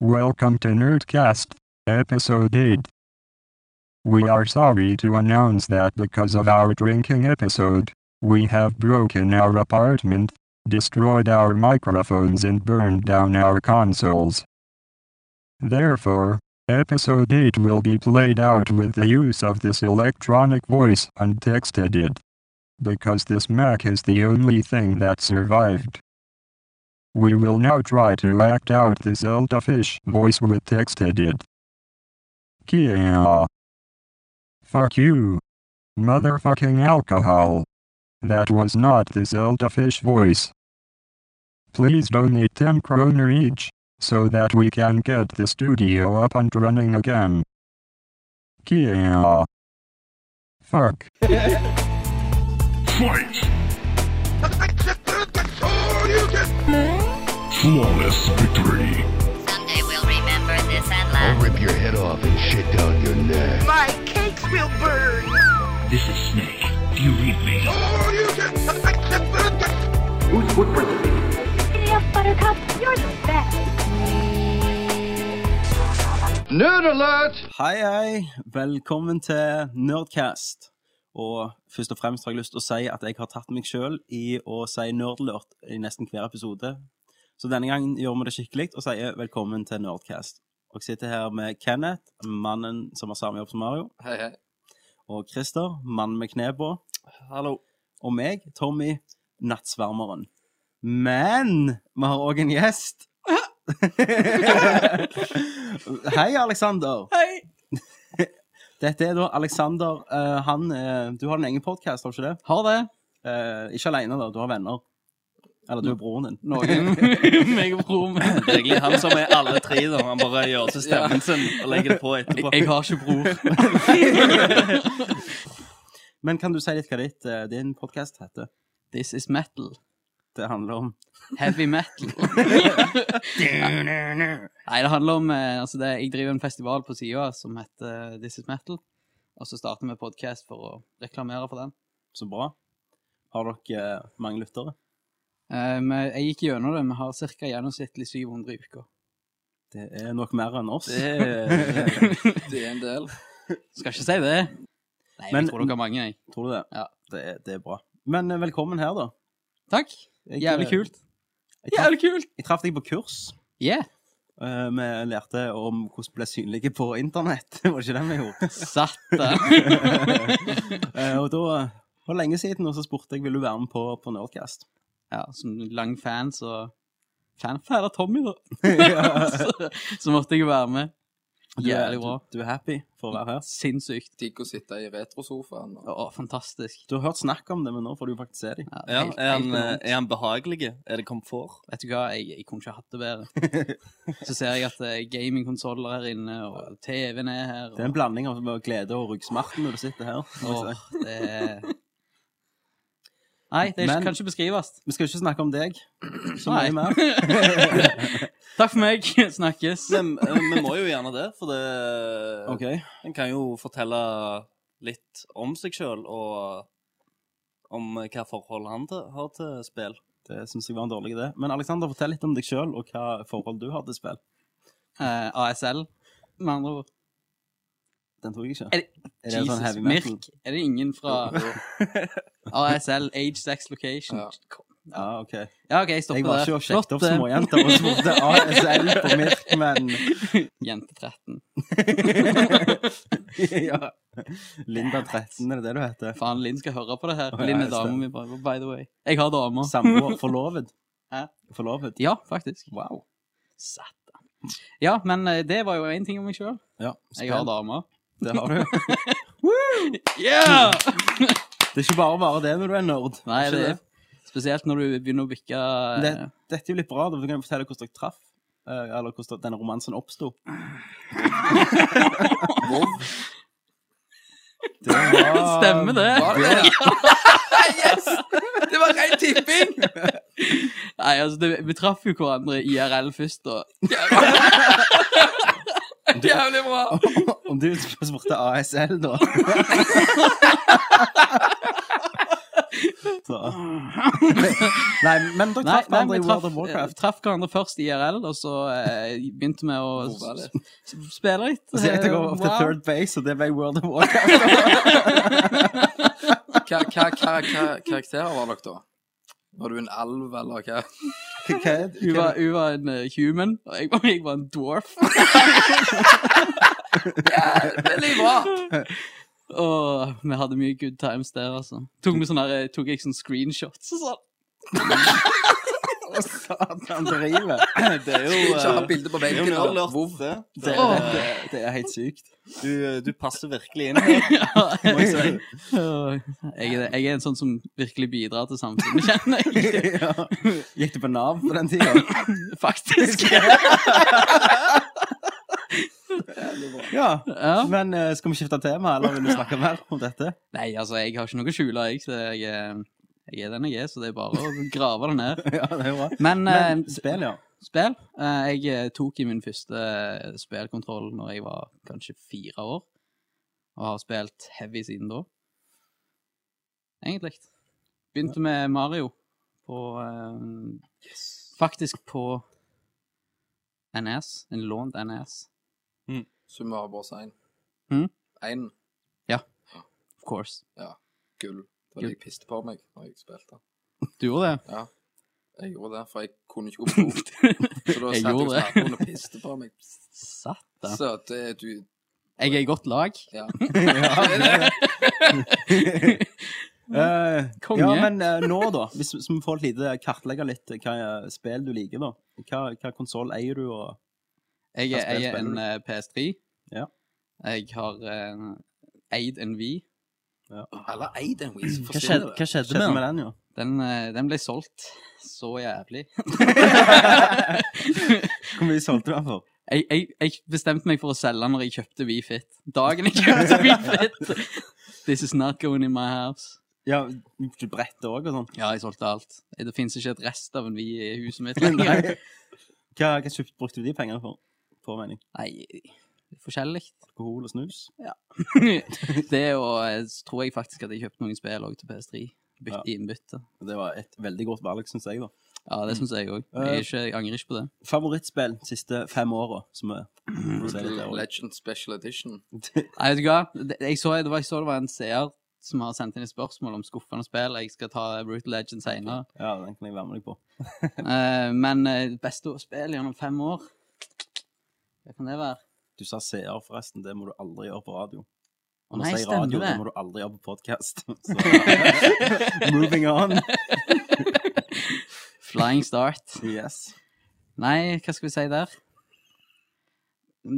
Welcome to Nerdcast, Episode 8. We are sorry to announce that because of our drinking episode, we have broken our apartment, destroyed our microphones, and burned down our consoles. Therefore, Episode 8 will be played out with the use of this electronic voice and text edit. Because this Mac is the only thing that survived. We will now try to act out the Zelda fish voice with text edit. Kia. Fuck you. Motherfucking alcohol. That was not the Zelda fish voice. Please donate 10 kroner each, so that we can get the studio up and running again. Kia. Fuck. Fight! I'll Flawless victory! Someday we'll remember this and laugh. rip your head off and shit down your neck. My cakes will burn. This is Snake. Do you read me? City of Buttercup, you're the best. Nerd alert! Hei, hei. Velkommen til Nerdcast. Og først og fremst har jeg lyst til å si at jeg har tatt meg sjøl i å si nerdlert i nesten hver episode. Så denne gangen gjør vi det skikkelig og sier velkommen til Nerdcast. Og jeg sitter her med Kenneth, mannen som har samme jobb som Mario. Hei, hei. Og Christer, mannen med kne på. Hallo. Og meg, Tommy, nattsvermeren. Men vi har òg en gjest. Hei, Aleksander. Hei! Dette er da Alexander. eh, han, eh, du har din egen podkast, har du ikke det? Har det. Eh, ikke alene, da. Du har venner. Eller du Mm. er broren din. Noen meg og broren min. Det er egentlig han som er alle tre. da Han bare gjør til stemmen sin og legger det på etterpå. Jeg har ikke bror. Men kan du si litt hva ditt, eh, din podkast heter? This is metal. Det handler om Heavy metal. Nei, det handler om eh, altså det, Jeg driver en festival på sida som heter eh, This is metal. Og så starter vi podkast for å reklamere for den. Så bra. Har dere eh, mange lyttere? Eh, men jeg gikk gjennom det. Vi har ca. gjennomsnittlig 700 i uka. Det er nok mer enn oss. Det er, Det er en del. Skal ikke si det. Nei, Men- jeg tror dere har mange, jeg. Tror du det? Ja. Det, er- det er bra. Men eh, velkommen her, da. Takk. Jeg, Jævlig eh, kult. Jeg traff, Jævlig kult! jeg traff deg på kurs. Yeah. Eh, vi lærte om hvordan bli synlige på internett. Var det ikke det vi gjorde? Satan. Eh, og da For lenge siden og så spurte jeg vil du være med på, på Nerdcast. ja, som lang fan, så Fanfan av Tommy, da. Ja. så, så måtte jeg jo være med. Du, er- Jævlig du, bra. du er happy for å være her? Sinnssykt. Digg å sitte i retrosofaen. og- Å, fantastisk. Du har hørt snakk om det, men nå får du faktisk se dem. Ja, ja, helt- er, han, eh, helt enormt. er han behagelig? Er det komfort? Vet du hva, jeg, jeg kunne ikke hatt det bedre. Så ser jeg at det er gamingkonsoller her inne, og TV-en er her. Og, Det er en blanding av glede og ryggsmerter når du sitter her. må jeg si. Åh, det er... Nei, det er, Men- kan ikke beskrives. Vi skal ikke snakke om deg så Nei. mye mer. Takk for meg. Snakkes. Men, eh, vi må jo gjerne det, for det Eh, Ok, En kan jo fortelle litt om seg sjøl, og om eh, hva forhold han til, har til spill. Det syns jeg var en dårlig idé. Men Alexander, fortell litt om deg sjøl og hva forhold du har til spill. Eh, ASL, med andre ord. Den tror jeg ikke. Er det- det sånn Jesus, heavy metal? Mirk. Er det ingen fra ASL, Age, Sex, Location? Ja. Kom. Ja, ok. Ja, OK, jeg stopper Jeg var ikke der. og sjekket opp Flott, eh, småjenter og spurte ASL på Mirk, men Jente 13. ja. Linda 13, er det det du heter? Faen, Linn skal høre på det her. Å, ja, Linn er det dama stemmer. mi, by by the way. Jeg har damer. Samboer. Forlovet. Hæ? Forlovet. Ja, faktisk. Wow. Satan. Ja, men eh, det var jo én ting om meg sjøl. Ja, Jeg har damer. Det har du. Yeah! Det er ikke bare bare det når du er nerd. Nei, Ikke det er spesielt når du begynner å bikke eh, det, Dette er jo litt bra. da, for Du kan jo fortelle hvordan dere traff. eh, Eller hvordan denne romansen oppsto. Det var- Stemmer det? Var det det? yes! Det var ren tipping! Nei, altså, det, vi traff jo hverandre IRL først, da. Jævlig bra! Om du spurte ASL, da. Så. Ah. Nei, men dere Nei, traff nei hverandre vi i traff, eh, World of Warcraft. traff hverandre først IRL, og så eh, begynte vi å Hore litt. s- spille litt. Så Altså, jeg eh, går opp til wow. third base, og det ble World of Warcraft. Hva, hva, hva, hva karakterer var dere da? Var du en alv, eller hva? Hva- hva- Hun var, hun var en eh, human, og jeg var, jeg var en dwarf. Veldig bra! Og vi hadde mye good times der, altså. Tok, vi sånne, her, eh, tok jeg sånne screenshots og sånn. Å, Satan, det river. Det er jo Ikke ha eh, bilde på det er jo veggen. da. nerdlurt, det. Det, Åh, oh. det, det, det er helt sykt. du, du passer virkelig inn her. må jeg si. jeg, er, jeg er en sånn som virkelig bidrar til samfunnet, kjenner jeg. ja. Gikk du på Nav på den tida? Faktisk. Ja. Ja. Men eh, skal vi skifte tema, eller vil du snakke mer om dette? Nei, altså, jeg har ikke noe å skjule, jeg. Så jeg, er- jeg er den jeg er, så det er bare å grave det ned. Ja, det er bra. Men, Men eh, spill, ja. spill. Eh, Jeg eh, tok i min første eh, spillkontroll når jeg var kanskje fire år, og har spilt heavy siden da. Egentlig. Begynte med Mario på eh, Faktisk på NS. En lånt NS, Summa og Borsein. Mm. Én of course. gull. Det var det jeg piste på meg når jeg spilte. Du gjorde det? Jeg gjorde det, for jeg kunne ikke gå på do. Så da Jeg satt jeg gjorde det. snappen og piste på meg. Satan. Så det du Jeg er i godt lag. Ja. Eh, Konge. ja, men eh, nå, da? Hvis hvis vi får et lite kartlegge litt eh, hva eh, spill du liker, da. Hva, hva konsoll eier du, og Jeg Hva spill eier en eh, PS3. Ja. Jeg har eh, eid en Wii. Eller eide en Wii, så Hva forsvinner skjedde, det. hva skjedde skjedde med med den? den, jo? Den, eh, den ble solgt så jævlig. Hvor mye solgte du den for? Jeg, jeg, jeg bestemte meg for å selge den når jeg kjøpte WeFit. Dagen jeg kjøpte WeFit! This is not going in my house. Ja, du brettet òg og sånn? Ja, jeg solgte alt. Det fins ikke et rest av en Vi i huset mitt lenger. Nei. Hva, hva kjøpt, brukte du de pengene for? Får mening. Nei, det er forskjellig. Alkohol og snus? Det og jeg tror jeg faktisk at jeg kjøpte noen spill òg til PS3. Bytt, Ja. I innbytte. Det var et veldig godt valg, syns jeg, da. Ja, det syns jeg òg. Eh, Jeg, er ikke- jeg angrer ikke på det. Favorittspill de siste fem åra, som er for å si det Brutal der også. Legend Special Edition. Mm. Nei, vet du hva? Det- Jeg så det var, jeg så det var en seer som har sendt inn et spørsmål om skuffende spill. Jeg skal ta Brutal Legend seinere. Ja, den kan jeg være med deg på. Eh, men eh, beste å spille gjennom fem år Hva kan det være? Du sa seer, forresten. Det må du aldri gjøre på radio. Og Nei, når jeg sier stemmer radio, det. det må du aldri gjøre på podkast. Moving on. Flying Start. Yes. Nei, hva skal vi si der?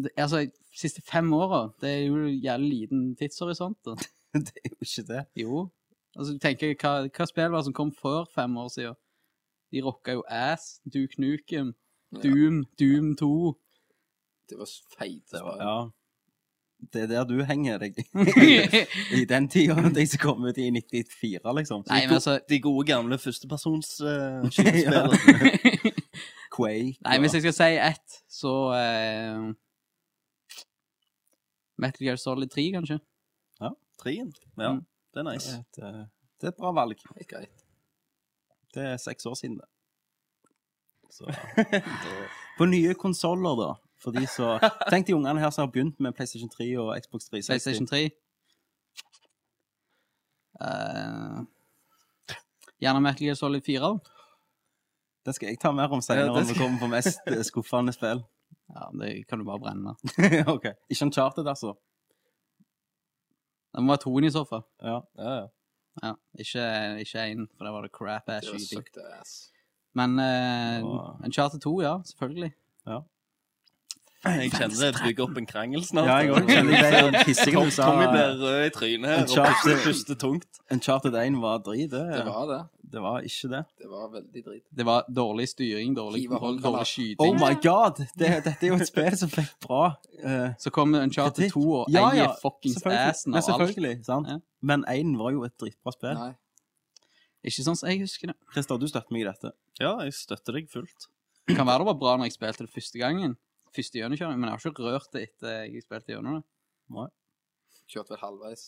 Det, altså, de siste fem åra Det er jo jævlig liten tidshorisont. da. Det er jo ikke det. Jo. Altså, du tenker, hva, hva spill var det som kom før fem år siden? De rocka jo ass. Duke Nukem. Ja. Doom. Doom 2. Det var feite. Det var, ja. Det er der du henger deg. I den tida de som kom ut i 94, liksom. Nei, men altså De gode gamle førstepersons eh, Ja. skytespill. Quake. Nei, hvis og- jeg skal si ett, så eh, Metal Gear Solid 3, kanskje? Treen. Ja, Mm. det er det, nice. er et, eh, det er et bra valg. Helt greit. Det er seks år siden, det. Så, på nye konsoller, da. For de som Tenk de ungene her som har begynt med PlayStation 3 og Xbox 360. PlayStation 3. Eh, gjerne Metal Gear Solid 4. da. Det skal jeg ta mer om senere, Ja, det når vi kommer på mest eh, skuffende spill. Ja, men Det kan du bare brenne. ok. Ikke Uncharted, altså. Det må være toen i så fall. Ja. ja, ja. Ja, ikke ikke én, for der var det crap ass Det var skyting. sucked ass. Men eh, Åh. Uncharted 2, ja, selvfølgelig. Jeg kjenner det bygger opp en krangel snart. Ja, jeg også kjenner det. Det er jo pissing du Tom, sa. Tommy blir rød i trynet her og Uncharted. puster- puster tungt. Uncharted 1 var drit, det. Det var det. Det var ikke det. Det var veldig drit. Det var dårlig styring, dårlig Hiva kontroll, håndgranater. dårlig Oh skyting. my god! Det, dette er jo et spill som fikk bra eh, Så kommer Uncharted kritikk. 2 og Ja, eier ja, fuckings selvfølgelig. assen Nei, av alt. Selvfølgelig, sant? Ja. Men 1 var jo et dritbra spill. Nei. Ikke sånn som jeg husker det. Christer, du støtter meg i dette. Ja, jeg støtter deg fullt. Kan være det var bra når jeg spilte det første gangen. Første gjennomkjøring, men jeg har ikke rørt det etter jeg spilte gjennom det. Kjørte vel halvveis.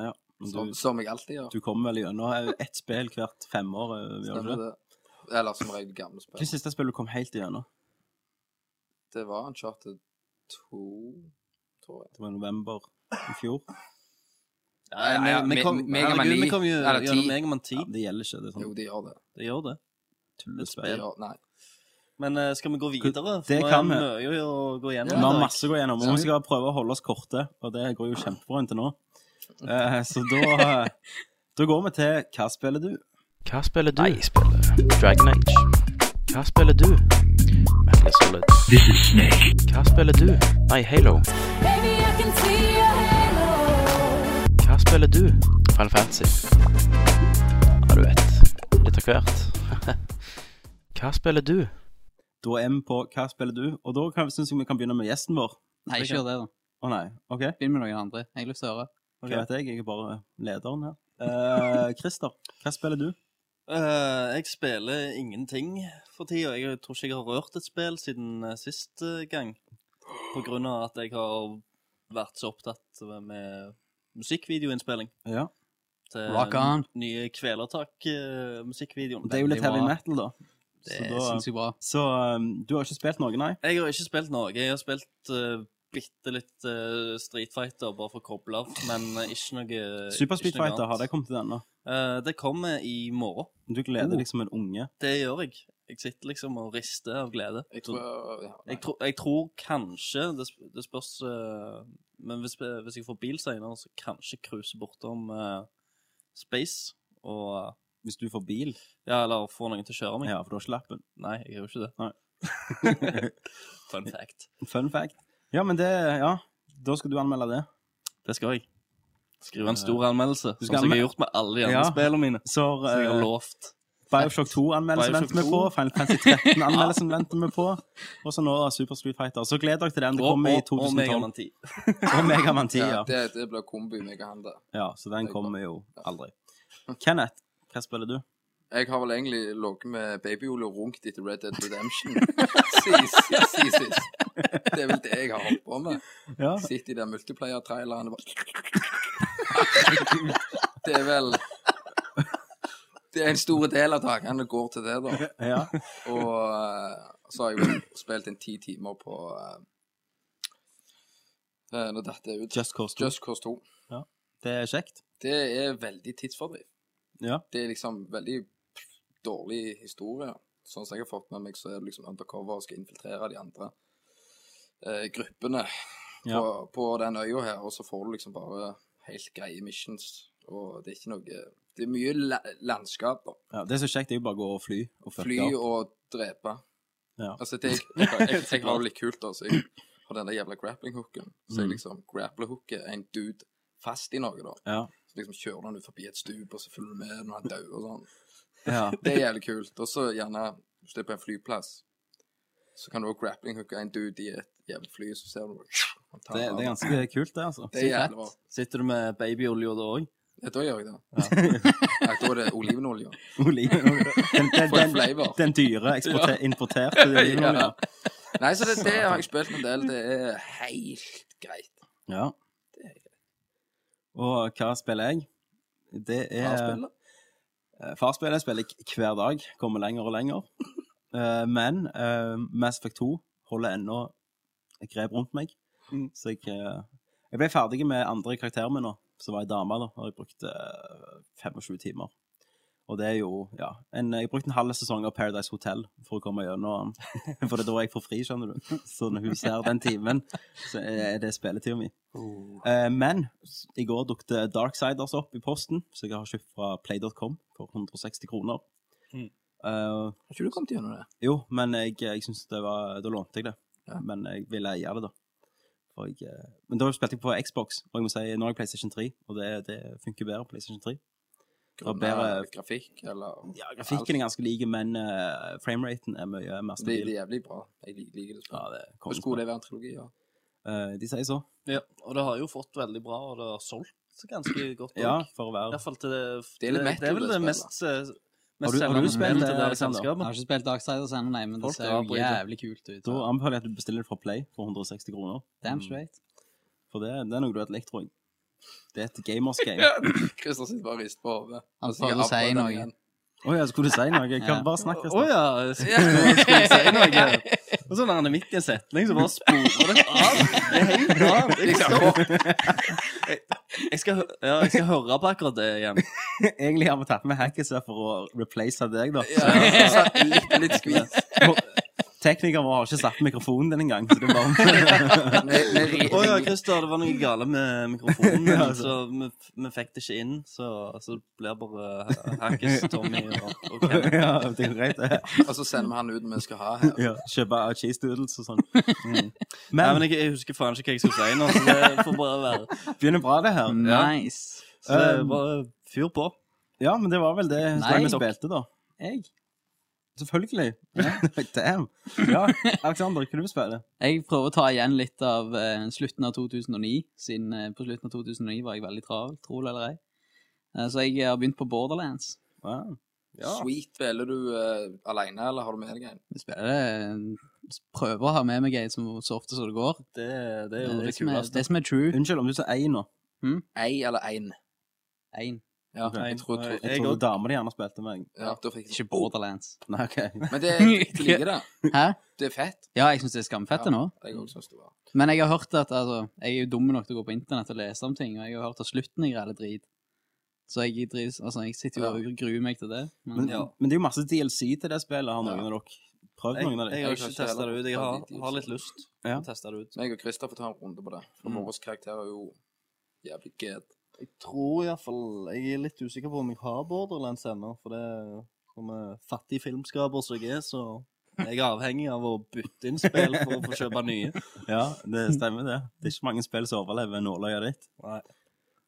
Ja. Men Som, Du, som jeg alltid gjør. du kommer vel gjennom ett spill hvert femår? eh, Gjør du Stemmer det? det? Eller som regel gamle Hva er spill. siste spillet du kom helt igjennom? Det var Uncharted 2, tror jeg. Det var i november i fjor. Nei, Nei, me- vi kom, me- Mega Man herregud, vi 9, kom jo eller 10. gjennom Megaman 10. Ja, det gjelder ikke. Det, er Jo, sånn, de gjør det. Det gjør det. De tullespill. gjør, nei. Men eh, skal vi gå videre? For Det nå er kan vi. mye å gå Vi gjennom. har Erik. masse å gå gjennom, og vi skal prøve å holde oss korte. Og det går jo kjempebra inntil nå. Eh, så da, da går vi til Hva spiller du? Hva spiller du? Jeg spiller Dragon Age. Hva spiller du? Metal Gear Solid. This is Snake. Hva spiller du? Nei, Halo. Hva spiller du? Final Fantasy. Ja, du vet. Litt av hvert. Hva spiller du? Da er vi på Hva spiller du? Og da kan- synes jeg vi kan begynne med gjesten vår. Nei, ikke gjør det, da. Å nei. OK. Begynn med noen andre. Jeg har lyst til å høre. Hva vet jeg? Jeg er bare lederen her. Eh, Christer, hva spiller du? Eh, jeg spiller ingenting for tida. Jeg tror ikke jeg har rørt et spill siden eh, sist eh, gang. På grunn av at jeg har vært så opptatt med musikkvideoinnspilling. Ja. Til Rock on. nye eh, Kvelertak-musikkvideoen. Det er jo litt heavy metal, da. Det Så, er da, sinnssykt bra. så eh, du har ikke spilt noe, nei? Jeg har ikke spilt noe. Jeg har spilt uh, bitte litt eh, Street Fighter bare for å koble av, men eh, ikke noe Super Speed ikke noe Fighter, har det annet. kommet til ennå? Eh, det kommer i morgen. Du gleder Oh. deg som en unge. Det gjør jeg. Jeg sitter liksom og rister av glede. Jeg tror, ja, nei. Jeg, tro, jeg tror kanskje Det, sp- det spørs eh, Men hvis, hvis jeg får bil senere, så kanskje cruise bortom eh, Space. Og eh, Hvis du får bil. Ja, eller får noen til å kjøre meg. Ja, for du har ikke lappen. Nei, jeg gjør ikke det. Nei. Fun fact. Fun fact. Ja, men det Ja, da skal du anmelde det. Det skal jeg. Skrive en stor anmeldelse, Eh, Du sånn skal som anmel- jeg har gjort med alle de andre Ja. spillene mine. Så Som jeg har eh, lovt. Bioshock 2-anmeldelsen Bioshock venter vi på. 2. Final Fantasy 13-anmeldelsen venter vi på. Og så nå Super Street Fighter. Så gled dere til den. Det Og, kommer i og, og Mega 2012. Man 10. Og Megaman 10, Ja, ja. det, det blir kombi meg og han der. ja. Så den kommer jo aldri. Kenneth, hva spiller du? Jeg har vel egentlig ligget med babyolje og runkt etter Red Dead Redemption siden sist. Si, sist. Det er vel det jeg har holdt på med. Ja. Sitter i den multiplayer-traileren og bare Det er vel Det er en stor del av dagene går til det, da. ja. Og eh, så har jeg vel spilt en ti timer på eh, eh, Nå datt det ut. Just Cause 2. Just Cause 2. Det er kjekt. Det er veldig tidsfordriv. Ja. Det er liksom veldig dårlig historie. Sånn som jeg har fått med meg, så er det liksom undercover og skal infiltrere de andre eh, gruppene på, Ja. på den øya her, og så får du liksom bare helt greie missions, og det er ikke noe Det er mye la landskap, da. Ja, det som er så kjekt, det er jo bare å gå og fly. Og fucke Fly opp. og drepe. Ja. Altså, det jeg, jeg, jeg, jeg har det litt kult, altså. Jeg har den der jævla grappling-hooken. Så jeg Mm. liksom grappler-hooker en dude fast i noe, da. Ja. Så liksom kjører han ut forbi et stup, og så følger du med når han dør og sånn. Ja. Det er jævlig kult. Og så gjerne, hvis du er på en flyplass, så kan du også grappling-hooke en dude i et jævlig fly, så ser du han tar Det, det han. er ganske kult, det, altså. Det er jævlig bra. Sitter du med babyolje da òg? Ja, da gjør jeg det. Nei, da er det olivenolje. Oliven. Den, den, For en den, flavor. den dyre eksporte- importerte olivenen. Ja. Ja. Nei, så det, det har jeg spilt en del. Det er helt greit. Ja. Og hva spiller jeg? Det er Farspillet? Eh, Farspillet spiller jeg hver dag. Kommer lenger og lenger. Eh, men eh, Mass Effect 2 holder ennå et grep rundt meg. Så jeg, eh, jeg ble ferdig med andre karakter min nå, som var ei dame. da, og Jeg brukte eh, 25 timer. Og det er jo ja, en, Jeg brukte en halv sesong av Paradise Hotel for å komme gjennom. For det er da jeg får fri, skjønner du. Så når hun ser den timen, så er det spilletida mi. Eh, men s- i går dukket Darksiders opp i posten, så jeg har kjøpt fra play.com for 160 kroner. Mm. Eh, Har ikke du kommet gjennom det? jo, men jeg, jeg synes det var Da lånte jeg det. Ja. Men jeg ville eie det, da. For jeg, eh, men da spilte jeg på Xbox, og jeg må si nå har jeg PlayStation 3, og det, det funker bedre på PlayStation 3. Grunnet bedre- grafikk, eller Ja, grafikken er ganske like, men uh, frameraten er mye mer det, det stabil. er jævlig bra. Jeg lik- liker det. Ja, spillet. det er Men kongens- skulle det være en trilogi, ja. Eh, de sier så. Ja. Og det har jo fått veldig bra, og det har solgt ganske godt Ja, òg. for å I være hvert fall til det Det er litt det er vel metal, det det mest, eh, Har du- har mest du selgende spilt spillet det, til det Alexander? Jeg selskapet. har ikke spilt Darksiders ennå, nei, men det Folk ser jo avbryter. jævlig kult ut. Da Mm. anbefaler jeg at du bestiller det fra Play for 160 kroner. Damn straight. For det, det er noe du hadde likt, tror jeg. Det er et gamers game. Christer sitter bare og rister på hodet. Han Så jeg prøvde å si abler den noe. igjen. Å ja, skulle du si noe? Jeg kan bare snakke. Å ja, skulle skulle jeg si noe? Og så når han er midt i en setning, så bare sporer det av. Det er helt galt. Jeg Liksom. skal, jeg, jeg skal, hø- ja, jeg skal høre på akkurat det igjen. Egentlig har vi tatt med Hackis her for å replace deg, da. Ja, så litt, litt skvis. Teknikeren vår har ikke satt mikrofonen din engang. Så det er bare... Vi, vi Å ri- ja, Christer, det var noe gale med mikrofonen, Ja, altså. så vi, vi fikk det ikke inn. Så, så det blir bare Hackes, Tommy og, og Kenneth. ja, det er greit, det. Og så sender vi han ut vi skal ha her. Ja, kjøpe cheese doodles og sånn. Mm. Nei, Men men jeg, jeg husker faen ikke hva jeg skulle si nå, så det får bare være. begynner bra, det her. Nice. Um, Så det er bare fyr på. Ja, men det var vel det Nei. vi spilte, da. Jeg? Selvfølgelig. Damn. Ja, Aleksander, hva du spiller Jeg prøver å ta igjen litt av eh, slutten av 2009, siden eh, på slutten av 2009 var jeg veldig travel, tro det eller ei. Eh, så jeg har begynt på Borderlands. Wow. Sweet. Spiller du uh, alene, eller har du med deg en? Jeg spiller, eh, prøver å ha med meg ei som så ofte som det går. Det, det Eh, er jo det, det, som er, kuleste. det som er true. Unnskyld om du sa ei nå. Ei eller ein? En. Ja, Ok. jeg tror, tror, Jeg Jeg tror òg. dama di gjerne spilte meg. ja, da fikk jeg Ikke Borderlands. Nei, ok. Men det jeg liker det. Hæ? Det er fett. Ja, jeg syns det er skamfett det nå. Jeg også synes det var. Men jeg har hørt at altså, jeg er jo dum nok til å gå på internett og lese om ting, og jeg har hørt at slutten er jævlig drit. Så jeg, drives, altså, jeg sitter jo og gruer meg til det. Men, Men, men det er jo masse DLC til det spillet. Har noen Ja. av dere prøvd Jeg, noen av jeg dem? har Jeg ikke skjønner testa det heller. ut. Jeg har, Veldig altså. har litt tidlig. lyst til Ja. å teste det ut. Meg og Christer får ta en runde på det. For Mm. vår karakter er jo jævlig get. Jeg tror iallfall Jeg er litt usikker på om jeg har Borderlands ennå, for det som er fattig filmskaper som jeg er, så er jeg avhengig av å bytte inn spill for å få kjøpe nye. Ja, det stemmer, det. Det er ikke mange spill som overlever nåløyet ditt. Nei.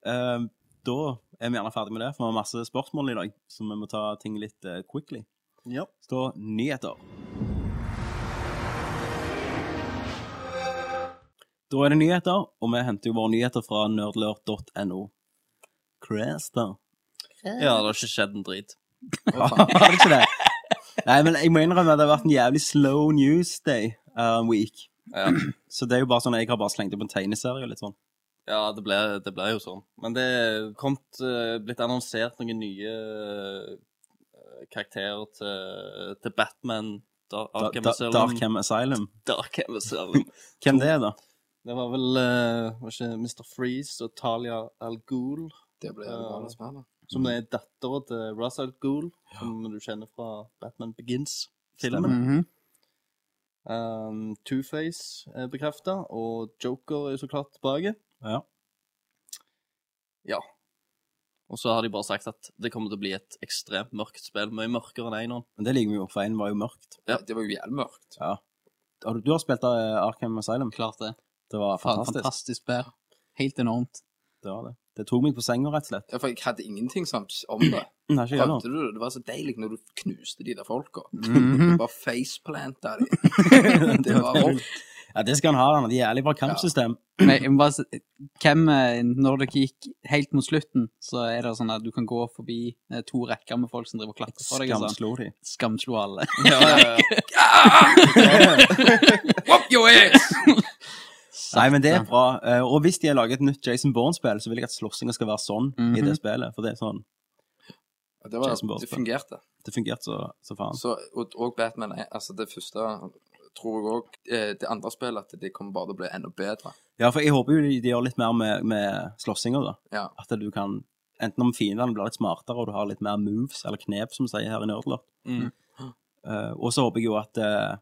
Eh, da er vi gjerne ferdig med det, for vi har masse spørsmål i dag, så vi må ta ting litt eh, quickly. Ja. Stå nyheter. Da er det nyheter, og vi henter jo våre nyheter fra nerdlurt.no. Cresta. ja, det har ikke skjedd en drit. Har det ikke det? Nei, men jeg må innrømme at det har vært en jævlig slow news day uh, week. Ja. Så det er jo bare sånn, jeg har bare slengt opp en tegneserie og litt sånn. Ja, det ble, det ble jo sånn. Men det er kommet, eh, blitt annonsert noen nye eh, karakterer til, til Batman. Dar Da, Arkham da, Asylum. Darkham Asylum. Darkham Asylum. Hvem det er da? Det var vel eh, var ikke Mr. Freeze og Talia Al Ghul, Det ble Ja. jævlig spennende. Mm. som er dattera til Russ Al Ghul, som du kjenner fra Batman Begins-filmen. Mhm. Um, Two-Face er bekrefta, og Joker er jo så klart tilbake. Ja. Ja. Og så har de bare sagt at det kommer til å bli et ekstremt mørkt spill. Mye mørkere enn Einon. Men det liker vi jo, for en var jo mørkt. Ja. Det var jo jævlig mørkt. Har Du, du har spilt uh, Arkham Asylum. Klart det. Det var Faen, fantastisk. fantastisk spill. Helt enormt. Det var det. Det tok meg på senga, rett og slett. Ja, for jeg hadde ingenting sams om det. Nei, ikke jeg nå. Prøvde du det? Det var så deilig når du knuste de der folka. Mhm. Du bare faceplanta de. Det var rått. Ja, det skal han ha, han har et jævlig bra kampsystem. Men jeg må bare si, hvem, eh, når dere gikk helt mot slutten, så er det sånn at du kan gå forbi eh, to rekker med folk som driver og klatrer på deg. og Sånn. Skamslo de. Skamslo alle. Ja, ja, ja. Whoop your ass! Nei, men det er bra. Eh, Og hvis de har laget et nytt Jason Bourne-spill, så vil jeg at slåssinga skal være sånn i det spillet. For det er sånn, Ja, Det, var, Jason Bourne. det fungerte. det fungerte så, så faen. Så, og, og Batman er altså det første tror jeg òg Det andre spillet at det kommer bare til å bli enda bedre. Ja, for jeg håper jo de de gjør litt mer med, med slåssinga, da. Ja. At du kan Enten om fiendene blir litt smartere, og du har litt mer moves, eller knep, som vi sier her i Nerdlert. Mm. Eh, og så håper jeg jo at eh,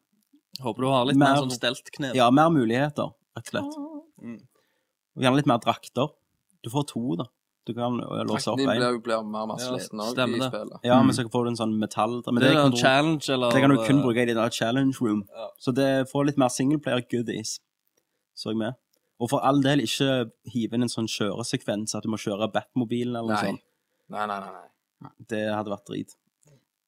Håper du har litt mer, Mer- sånn stelt knep. Ja, mer muligheter, rett og slett. Mm. Og gjerne litt mer drakter. Du får to, da. Du kan eh, låse Trakten opp din én. blir Mm. jo blir mer og mer Ja, sliten òg stemmer i det. spillet. Ja, men så får du en sånn metall Men det, det, er kan en du, challenge, eller det kan du kun bruke i det der challenge room. eh, Ja. Så det får litt mer singleplayer goodies, så jeg med. Og for all del, ikke hive inn en sånn kjøresekvens at du må kjøre Batmobilen eller noe Nei. sånt. Nei, nei, nei. nei. Det hadde vært drit.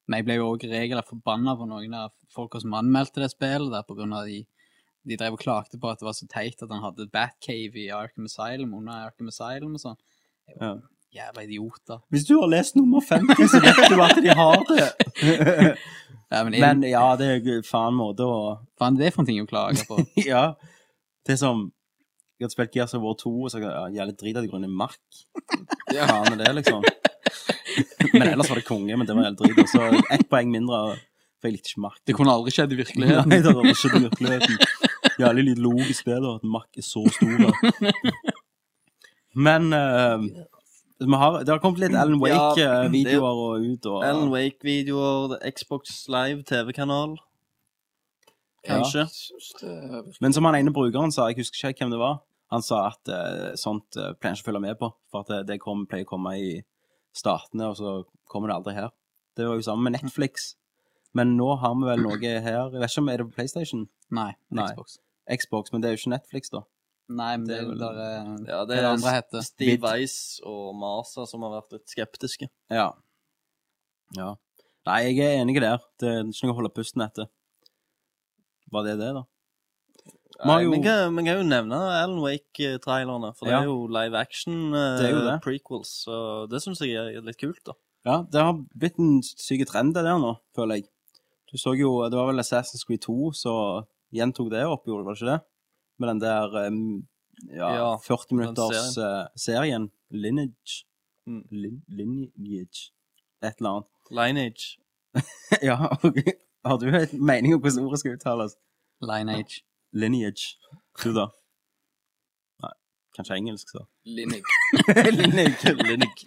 Men jeg ble jo òg regelrett forbanna på noen av folka som anmeldte det spillet, der på grunn av de de drev og klagde på at det var så teit at han hadde Batcave i Arkham Asylum under Arkham Asylum og sånn. Jeg var Jævla idioter. Hvis du har lest nummer 50, så vet du at de har det. Nei, men, Men men ja, det er jo faen måte å faen, det er for en ting å klage på. Ja. Det er som Jeg hadde spilt Gears of War 2, og så hadde jeg jævlig drit av det grunnen mark. Ja. Faen er det, liksom. Men ellers var det konge, men det var jævlig drit. Og så ett poeng mindre, for jeg likte ikke mark. Det kunne aldri skjedd i virkeligheten. Nei, det hadde aldri skjedd i virkeligheten. Jævlig litt logisk det, da, at mark er så stor. Da. Men eh, vi har, det har kommet litt Ellen Ja, det er jo- Wake-videoer og ut, og Alan Wake-videoer, det er Xbox Live TV-kanal. Ja. Kanskje. Synes det er virkelig- Men som han ene brukeren sa, jeg husker ikke helt hvem det var, han sa at eh, sånt eh, pleier jeg ikke å følge med på, for at det, det kom, pleier å komme i statene, og så kommer det aldri her. Det var jo sammen med Netflix. Men nå har vi vel noe her, jeg vet ikke om er det på Playstation? Nei, Nei. Xbox. Xbox, men det er jo ikke Netflix da. Nei, men Det det er er vel- der eh, Ja, Hva det er det andre er heter? Steve Vid- Weiss og Masa som har vært litt skeptiske. Ja. Ja. Nei, jeg er enig der. Det er ikke noe å holde pusten etter. Var det det da? Vi har Nei, jo- men kan, men kan jo nevne Alan Wake-trailerne, for Ja. det er jo live action eh, Det er jo det. prequels. Så det syns jeg er litt kult, da. Ja, det har blitt en syk trend det der nå, føler jeg. Du så jo, det var vel Assassin's Creed 2 som gjentok det opp, gjorde det var ikke det? Med den der um, ja, Ja, 40 den minutters eh, serien, Lineage. Mm. Lin lineage. Et eller annet. Lineage. ja, og har du en mening om hvordan ordet skal uttales? Lineage. Lineage. Du da? Nei, kanskje engelsk så. Linnik. Lineage.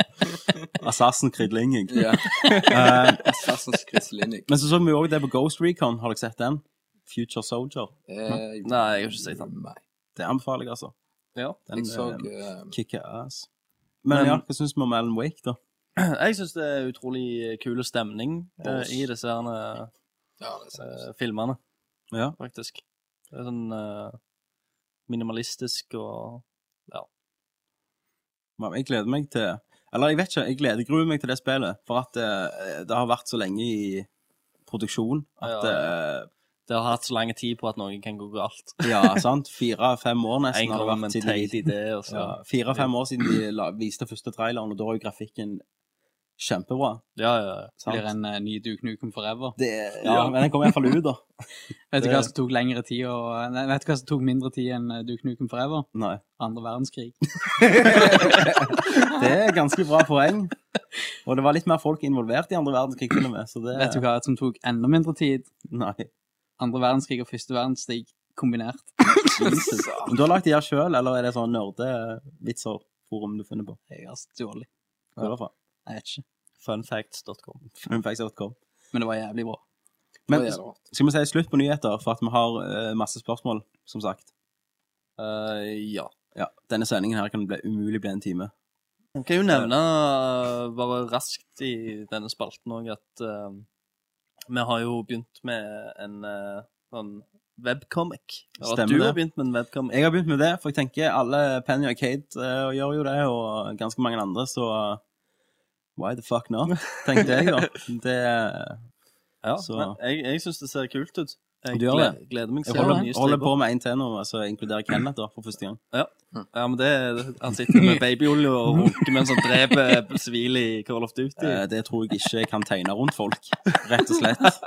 Assassin's Creed Lineage. Ja. Eh, Assassin's Creed Linnik. men så så vi jo også det på Ghost Recon, har dere sett den? Future Soldier. Eh, Nei, jeg har ikke sett den. Nei. Det anbefaler jeg, altså. Ja. Den Jeg så eh, eh, kicker ass. Men, Men- ja, hva syns vi om Alan Wake, da? Jeg syns det er utrolig kule stemning eh, i disse her, Ja, det ser eh, filmene, Ja. faktisk. Det er sånn eh, minimalistisk og men Jeg gleder meg til Eller jeg vet ikke, jeg gleder gruer meg til det spillet. For at eh, det har vært så lenge i produksjon at eh, Det har hatt så lang tid på at noe kan gå galt. Ja, sant? Fire-fem år En nesten har det gang med vært en siden teit de idé, og så ja, Fire-fem år siden de la, viste første traileren, og da er jo grafikken kjempebra. Ja, ja, ja. Sant? Blir en eh, ny Duke Nukem Forever. Det, ja, men den kommer iallfall ut, da. Vet du det- hva som tok lengre tid og, nei, Vet du hva som tok mindre tid enn eh, Duke Nukem Forever? Nei. Andre verdenskrig. Det er ganske bra poeng. Og det var litt mer folk involvert i andre verdenskrig, til og med. Så det Vet du hva som tok enda mindre tid? Nei. Andre verdenskrig og første verdenskrig kombinert. Jesus. Men Du har lagt de her sjøl, eller er det sånn nerdevitser-forum du finner på? Jeg har stjålet. I hvert fall. Jeg vet ikke. Funfacts.com. Funfacts.com. Men det var jævlig bra. Men det er rart. skal vi si slutt på nyheter, for at vi har eh, masse spørsmål, som sagt. Eh, ja. Ja, Denne sendingen her kan bli umulig bli en time. Jeg kan jo nevne eh, bare raskt i denne spalten òg at eh, vi har jo begynt med en eh, sånn webcomic. Og at Stemmer du det. har begynt med en webcomic. Jeg har begynt med det, for jeg tenker alle Penny og Kate eh, gjør jo det, og ganske mange andre, så eh, why the fuck not, tenkte jeg, da. Det Ja, Så- men jeg, jeg syns det ser kult ut. Jeg Du gjør gleder, gleder meg jeg til den holder, nye holder stripa. på med en til nå, altså inkluderer Kenneth da, for første gang. Ja, men det, han sitter med babyolje og runker mens han dreper sivile i Call of Duty. Eh, det tror jeg ikke jeg kan tegne rundt folk, rett og slett.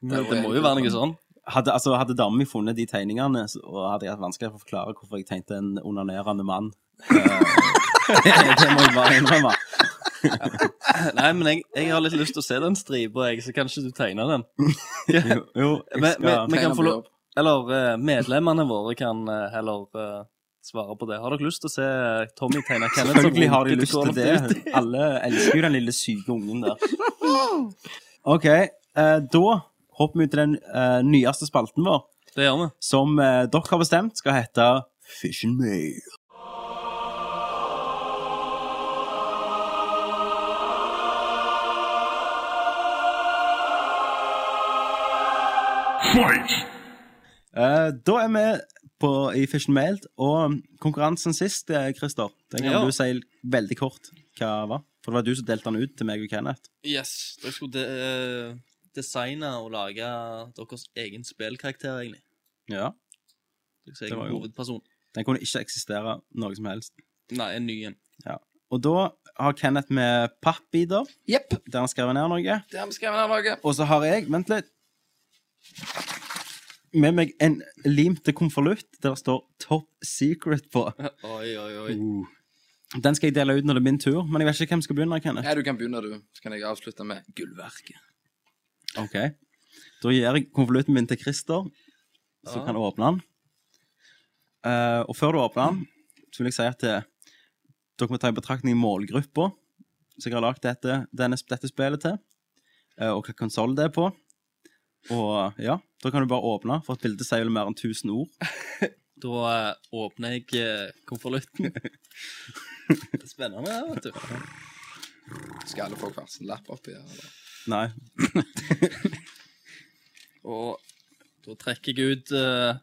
det, det må jo være noe sånn. Hadde, altså, hadde damen min funnet de tegningene, så- og hadde jeg hatt vanskelig for å forklare hvorfor jeg tegnte en onanerende mann. Eh, det, det må jeg bare innrømme. Nei, men jeg, jeg har litt lyst til å se den stripa, jeg, så kanskje du tegner den. Jo, jo jeg Men- skal, men- Vi kan få lov- opp. Eller eh, medlemmene våre kan eh, heller eh, svare på det. Har dere lyst til å se eh, Tommy tegne Kenneth? som Selvfølgelig har de runker lyst Call til of Duty? det. Alle elsker jo den lille syke ungen der. OK, eh, da hopper vi ut til den eh, nyeste spalten vår, Det gjør vi. som eh, dere har bestemt skal hete Fish and Mail. Fight! Eh, da er vi på, i Fish and Mailed, og konkurransen sist, eh, Christer, den kan Ja. du si veldig kort hva var. For det var du som delte den ut til meg og Kenneth. Yes. Dere skulle de, eh, designe og lage deres egen spillkarakter, egentlig. Ja. Deres Det var egen jo- hovedperson. Den kunne ikke eksistere noe som helst. Nei, en ny en. Og da har Kenneth med pappbiter, Jepp. der han skrev ned noe. Det har vi skrevet ned noe. Og så har jeg Vent litt. med meg en lim til konvolutt der det står 'Top Secret' på. Oi, oi, oi. Uh. Den skal jeg dele ut når det er min tur, men jeg vet ikke hvem som skal begynne. Kenneth. Nei, du kan begynne, du. Så kan jeg avslutte med gullverket. Ok. Da gir jeg konvolutten min til Christer, så Ja. kan du åpne den. Eh, og før du åpner den, så vil jeg si at eh, dere må ta i betraktning målgruppa som jeg har lagd dette, denne, dette spillet til, eh, og hva konsoll det er på. Og ja, da kan du bare åpne, for et bilde sier vel mer enn 1000 ord. Da eh, åpner jeg eh, konvolutten. Det er spennende, det, vet du. Skal alle få hver sin lapp oppi her? Eller? Nei. Og da trekker jeg ut eh,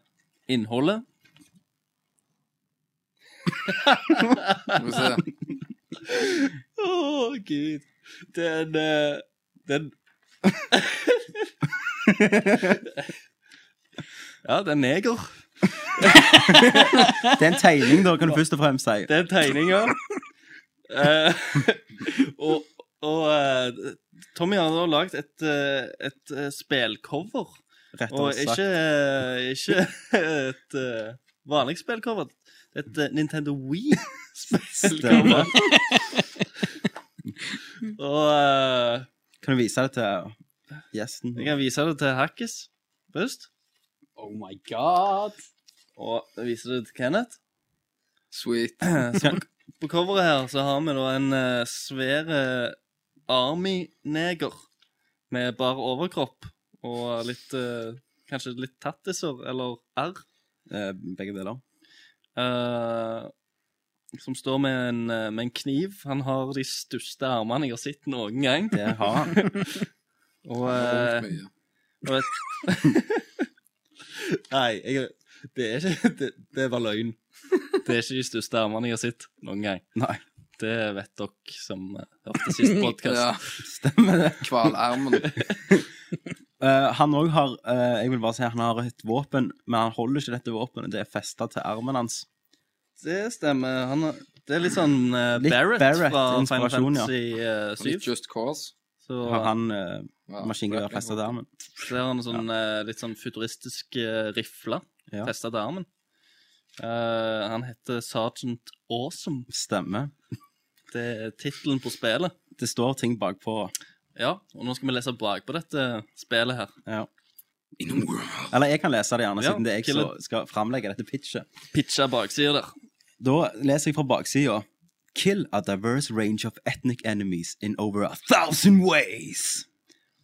innholdet. Skal vi se. Å, gud. Den eh, Den Ja, det er neger. Det er en tegning, da, kan du først og fremst si. Det er tegninger. Eh, og og eh, Tommy har da lagd et, eh, et eh, spelcover. Rett og Og slett. ikke, eh, ikke et eh, vanlig spillcover. Et eh, Nintendo Wii-spillcover. Og eh, Kan du vise det til gjesten? jeg kan vise det til Hackis først. Oh my god! Og jeg viser det til Kenneth. Sweet. Eh, Så på, på coveret her så har vi da en uh, svær eh, army-neger med bar overkropp og litt eh, Kanskje litt tattiser eller arr. Eh, begge deler. Eh, som står med en, eh, med en kniv. Han har de største armene jeg har sett noen gang. Det har han. Og, Vondt eh, mye. og et... Nei, jeg, det er ikke det, det var løgn. Det er ikke de største armene jeg har sett noen gang. Nei. Det vet dere som eh, hørte sist podkast. Ja, Stemmer det. Kvalarmen. Eh, han òg har eh, Jeg vil bare si at han har et våpen, men han holder ikke dette våpenet. Det er festa til armen hans. Det stemmer. Han, har- det er litt sånn eh, Litt Barrett, Barrett fra Final inspirasjon, ja. Fantasy eh, Litt 7. Just Cause. Så Har han eh, Ja, maskingevær festa til armen? Så har han en sånn eh, litt sånn futuristisk eh, rifle Ja. festet til armen. Eh, han heter Sergeant Awesome. Stemmer. Det er tittelen på spillet. Det står ting bakpå. Ja, og nå skal vi lese bakpå dette spillet her. Ja. In a world. Eller jeg kan lese det gjerne, Ja, siden det er jeg kill som skal framlegge dette pitchet. Pitcha baksida der. Da leser jeg fra baksida. Kill a diverse range of ethnic enemies in over a thousand ways.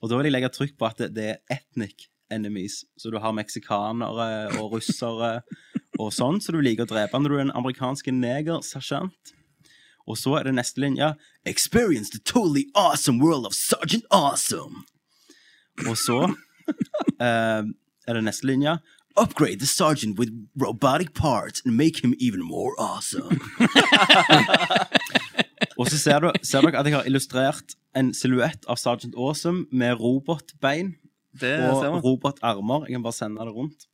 Og da vil jeg legge trykk på at det, det er ethnic enemies. Så du har meksikanere og russere og sånn, så du liker å drepe når du er en amerikansk neger-sersjant. Og så er det neste linje. Experience the totally awesome world of Sergeant Awesome. Og så eh, er det neste linje. Upgrade the sergeant with robotic parts and make him even more awesome. Og så ser, du, ser dere at jeg har illustrert en silhuett av Sergeant Awesome med robotbein Det ser og man. robotarmer. Jeg kan bare sende det rundt.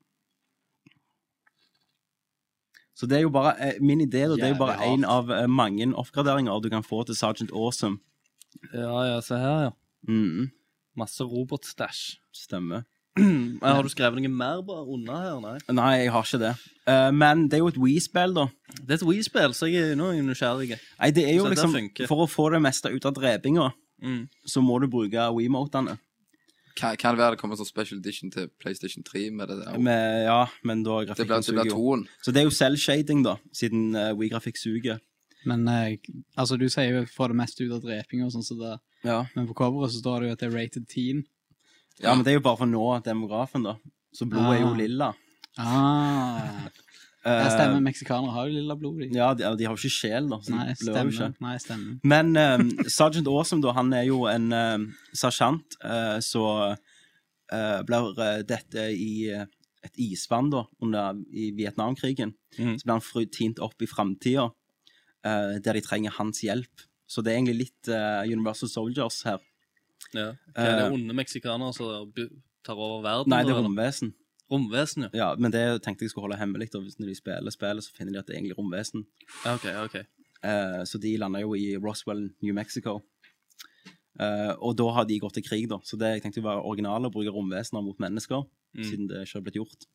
Så det er jo bare eh, min idé, da. Det er jo bare Jævlig én av eh, mange oppgraderinger du kan få til Sergeant Awesome. Ja, ja, se her, ja. Mm, Masse robotstæsj. stemmer. Eh, Har du skrevet noe mer bare unna her? Nei. Nei, jeg har ikke det. Eh, men det er jo et Wii-spill, da. Det er et Wii-spill, så jeg er nå er jeg nysgjerrig. Nei, det er jo Så det liksom funker. For å få det meste ut av drepinga, Mm. så må du bruke WeMotene. Kan, kan det være det kommer som special edition til PlayStation 3 med det der? Med, ja, men da Det blir, grafikken det blir suger jo. toen. Så det er jo selvshading, da, siden uh, WeGrafikk suger. Men eh, altså, du sier jo 'få det meste ut av dreping' og sånn, så det Ja. Men på coveret så står det jo at det er rated teen. ja, men det er jo bare for å nå demografen, da. Så blodet er jo Ah. lilla. Ah. Eh, Ja, stemmer. Meksikanere har jo lilla blod, de. Ja, de, de har jo ikke sjel, da. Så Nei, de blør jo ikke. stemmer. Nei, stemmer. Men eh, Sergeant Awesome, da, han er jo en eh, sersjant eh, så eh, blir eh, dette i eh, et isvann da, under, i Vietnamkrigen. Mhm. Så blir han fry- tint opp i framtida, eh, der de trenger hans hjelp. Så det er egentlig litt eh, Universal Soldiers her. Ja. Det er Eh. det onde meksikanere som bu- tar over verden? Nei, det er eller? romvesen. romvesen, ja. Ja, men det tenkte jeg skulle holde hemmelig. Da. Hvis Når de spiller spillet, så finner de at det er egentlig romvesen. ja. OK, OK. Eh, så de lander jo i Roswell, New Mexico. Eh, og da har de gått til krig, da. Så det jeg tenkte var originale å bruke romvesener mot mennesker. Mm. siden det ikke har blitt gjort.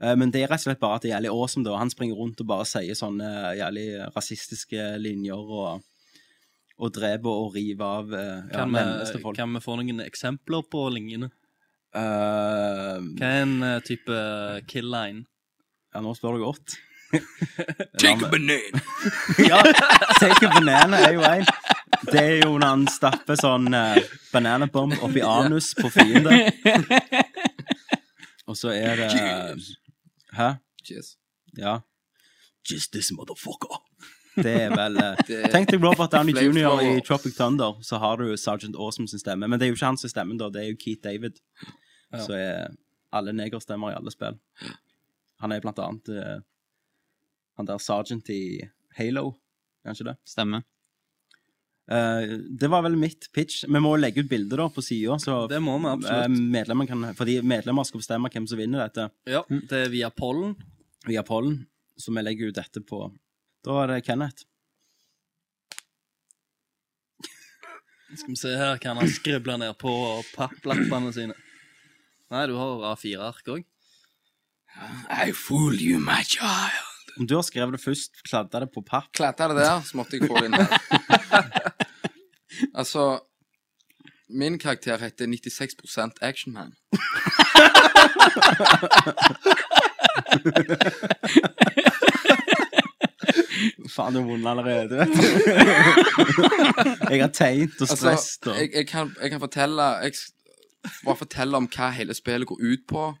Eh, Men det er rett og slett bare at det er jævlig awesome, da. Han springer rundt og bare sier sånne eh, jævlig rasistiske linjer og, og dreper og river av eh, ja, Kan, mennesker vi, folk. kan vi få noen eksempler på lignende? Eh, Hva er en eh, type kill line? ja, nå spør du godt. Take a banana! ja, take a banana er jo en. Det er jo når han stapper sånn eh, banana bomb oppi anus på fienden. Og så er det Hæ? Cheers. Ja. Just this motherfucker. Det er vel eh, Tenk deg Robert Downey Flames Jr. i Power. Tropic Thunder, så har du Sergeant Awesome sin stemme. Men det er jo ikke han som stemmer, da. Det er jo Keith David. Ja. Så er alle negerstemmer i alle spill. Han er blant annet eh, han der Sergeant i Halo, er han ikke det? Stemmer. Eh, det var vel mitt pitch. Vi må legge ut bilder da på sida, så Det må vi eh, absolutt. medlemmer kan, fordi medlemmer skal bestemme hvem som vinner dette Ja, det er via pollen. via pollen. Så vi legger ut dette på Da er det Kenneth. Skal vi se her, kan han skrible ned på papplappene sine? Nei, du har A4-ark òg. I fool you, my child. Om du har skrevet det først, kladda det på papp Klatta det der, så måtte jeg få det inn her. altså Min karakter heter 96 Actionman. Faen, du har vunnet allerede. jeg har tegnet og Altså, stresset. og- jeg, jeg, kan, jeg kan fortelle Jeg s- bare fortelle om hva hele spillet går ut på,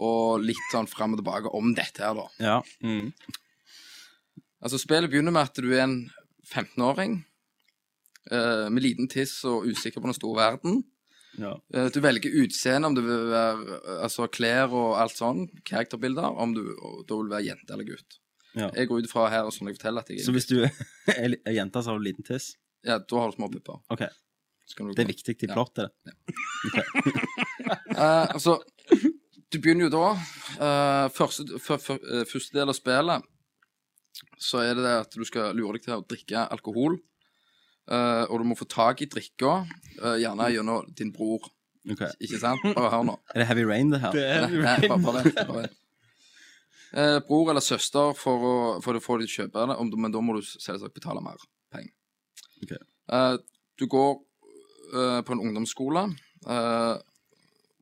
og litt sånn fram og tilbake om dette her, da. Ja. Altså, spillet begynner med at du er en 15-åring eh, med liten tiss og usikker på den store verden. ja. Eh, Du velger utseende, om du vil være altså klær og alt sånn, karakterbilder, om du og da vil være jente eller gutt. Ja. Jeg går ut fra her og sånn jeg forteller at jeg Så hvis du er li- er jente som har du liten tiss Ja, da har du små pupper. Ok, Så kan du Det er gå. viktig i Ja. plottet. Eh, altså, du begynner jo da. eh, første, før- før- eh, første del av spillet så er det det at du skal lure deg til å drikke alkohol. eh, og du må få tak i drikka, eh, gjerne gjennom din bror. Ok. Ikke sant? Bare hør nå. Er det Heavy Rain, det her? Nei, nei, bare, bare vent. Bare vent. Eh, bror eller søster for å, for å få de til å kjøpe det, om du- men da må du selvsagt betale mer penger. Ok. Eh, du går eh, på en ungdomsskole, eh,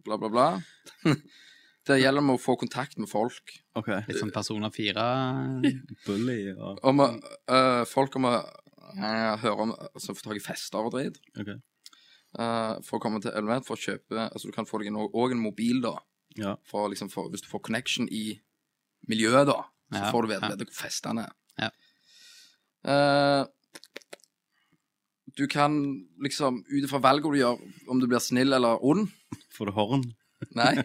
bla, bla, bla. det gjelder med å få kontakt med folk. Ok. Litt sånn Persona 4 Bully og Om, å- eh, folk om å eh, høre om altså, Få tak i fester og drit. Ok. Eh, for å komme til Elmet, for å kjøpe Altså, du kan få deg en, og en mobil, da. Ja. for, å liksom, få- hvis du får connection i miljøet, da, så Ja, får du vite ja. hvor festene er. Ja. Eh, du kan liksom, ut ifra valget du gjør, om du blir snill eller ond Får du horn? Nei.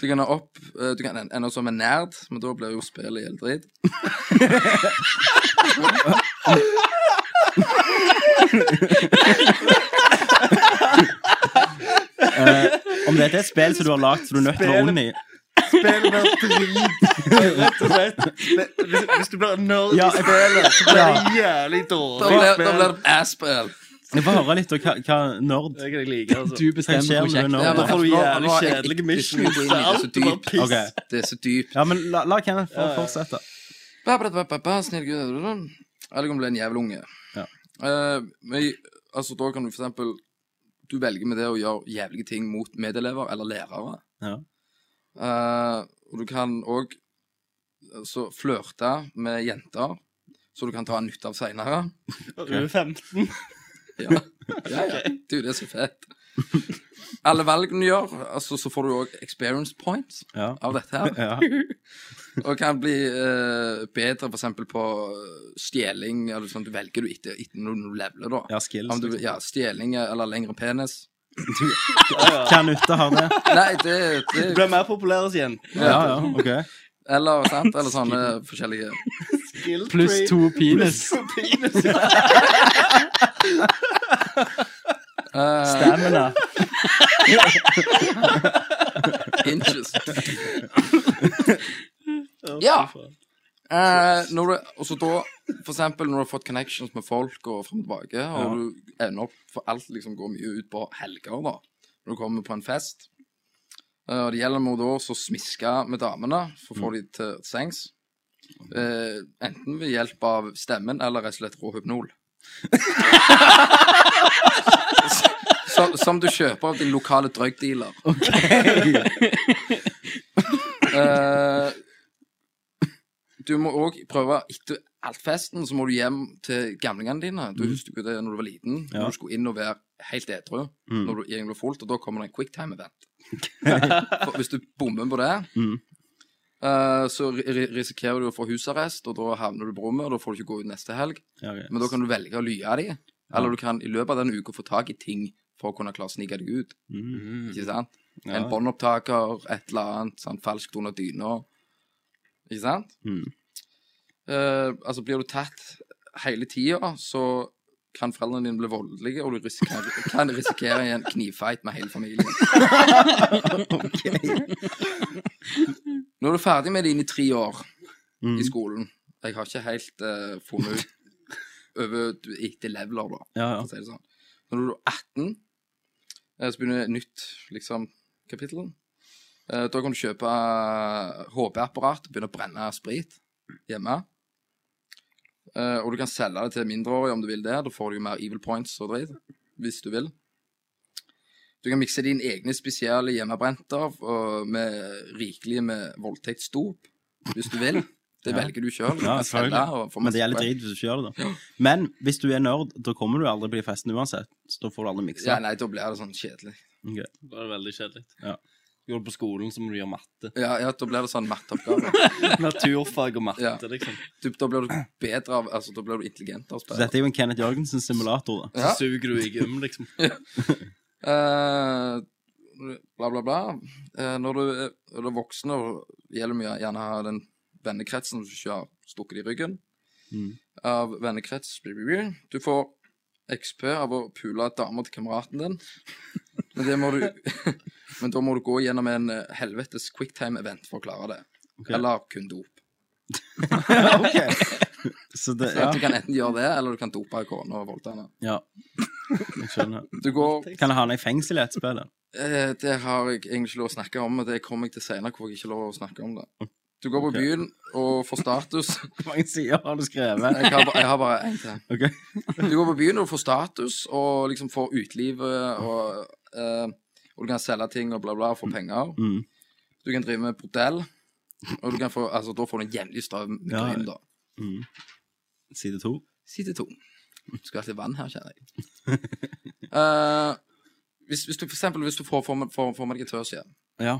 Du kan, ha opp, eh, du kan en- ende opp som en nerd, men da blir jo spillet helt dritt. Eh, om dette er et spill som du har lagd som du er nødt til å være ond i Spillet blir drit, rett og slett. Hvis, du blir nerd Ja, jeg- spillet, så blir det jævlig Da blir, da blir det ass-spill. Jeg får høre litt om hva, hva nerd Det kan jeg like, altså. Du Hva skjer når du er Ja, nerd? Da men- da? får du Nå- nå er jævlig jeg- kjedelige jeg- jeg- missions. jeg- Alt jeg- er bare jeg- piss. Ok. Det er så dypt. Ja, men la, la Kenneth få fortsette. Ba, ba, ba, ba, ba, snill gud da, da, da. Eller kan bli en jævel unge. Ja. Eh, men, altså, da kan du for eksempel Du velger med det å gjøre jævlige ting mot medelever eller lærere. Ja. Eh, og du kan òg så flørte med jenter, så du kan ta nytte av seinere. Du er 15. Ja. ja, ja. Du, det er så fett. Alle valgene du gjør, altså, så får du òg experience points Ja. av dette her. Ja. Og kan bli eh, bedre for eksempel på eh, stjeling, eller sånn, du velger du etter, etter når du leveler da. ja, skills. Om du, liksom. ja, stjeling eh, eller lengre penis. Hva nytte har det? Nei, det, det Du blir mer populær hos jentene. Ja, ja, ok. Eller, sant, eller sånne forskjellige Pluss to penis. eh, Stamina. inches. Ja. Eh, når du, og så da, for eksempel når du har fått connections med folk og frem og tilbake, og Ja. du ender opp, for alt liksom går mye ut på helger da, når du kommer på en fest, Eh, og det gjelder med da også å smiske med damene for å få dem til sengs. Eh, enten ved hjelp av stemmen eller rett og slett rå hypnol. som, som du kjøper av din lokale drøgdealer. Eh, du må òg prøve etter alt festen, så må du hjem til gamlingene dine. Du husker jo det når du var liten, Mm. Ja. når du skulle inn og være helt edru Mm. når du egentlig blir fullt, og da kommer det en quicktime-event. For Hvis du bommer på det, Mm. eh, så ri- ri- risikerer du å få husarrest, og da havner du på rommet, og da får du ikke gå ut neste helg. Ja, ok. Men da kan du velge å lye av dem, eller du kan i løpet av den uka få tak i ting for å kunne klare å snike deg ut. Mm. Ikke sant? Ja. En båndopptaker, et eller annet, sånn falskt under dyna. Ikke sant? Mm. Eh, altså, blir du tatt hele tida, så kan foreldrene dine bli voldelige, og du risikerer, kan risikere en knivfight med hele familien. Nå er du ferdig med dine tre år Mm. i skolen. Jeg har ikke helt eh, funnet ut over du- etter leveler, da. Ja, ja. For å si det sånn. Når du er 18, eh, så begynner et nytt liksom, kapittel. Eh, Da kan du kjøpe HB-apparat og begynne å brenne sprit hjemme. Eh, Og du kan selge det til mindreårige om du vil det. Da får du jo mer evil points og dritt, hvis du vil. Du kan mikse dine egne spesielle hjemmebrenter og med rikelige med voldtektsdop, hvis du vil. Det Ja. velger du sjøl. Ja, selvfølgelig. Men det gjelder drit hvis du ikke gjør det, da. Men hvis du er nerd, da kommer du aldri på de festene uansett. Så da får du aldri miksa. Ja, nei, da blir det sånn kjedelig. Det er veldig kjedelig. Ja. Går du på skolen, så må du gjøre matte. Ja, ja da blir det sånn matteoppgave. Naturfag og matte, Ja. liksom. Du- Da blir du bedre av Altså, da blir du intelligent av å Så spille. dette er jo en Kenneth Jørgensen-simulator, da. Så Ja. suger du i gym, liksom. Eh, bla, bla, bla. Eh, når du er, når du er voksen, og gjelder mye gjerne å ha den vennekretsen som ikke har stukket i ryggen Mm. Av vennekrets blir, blir, blir. Du får XP av å pule damer til kameraten din. Men, det må du, men da må du gå gjennom en eh, helvetes quicktime-event for å klare det. Ok. Eller kun dop. Så det, Så ja. Du kan enten gjøre det, eller du kan dope ei kone og voldta henne. ja. Jeg skjønner. Du går Kan jeg havne i fengsel i et spill? da? Eh, Det har jeg egentlig ikke lov å snakke om, men det kommer jeg til senere hvor jeg ikke har lov å snakke om det. Du går på Ok. byen og får status. Hvor mange sider har du skrevet? Jeg har, ba- jeg har bare én til. Ok. Du går på byen og får status, og liksom får utelivet, og, eh, og du kan selge ting og bla, bla, og få penger. Mm. Du kan drive med bordell, og du kan få, altså, da får du en jevnlig støv Ja. migrene, da. Mm. Side to. Side to. Skal alltid vann her, kjenner jeg. Eh, hvis, hvis du for eksempel hvis du får for, for, for meg igjen Ja.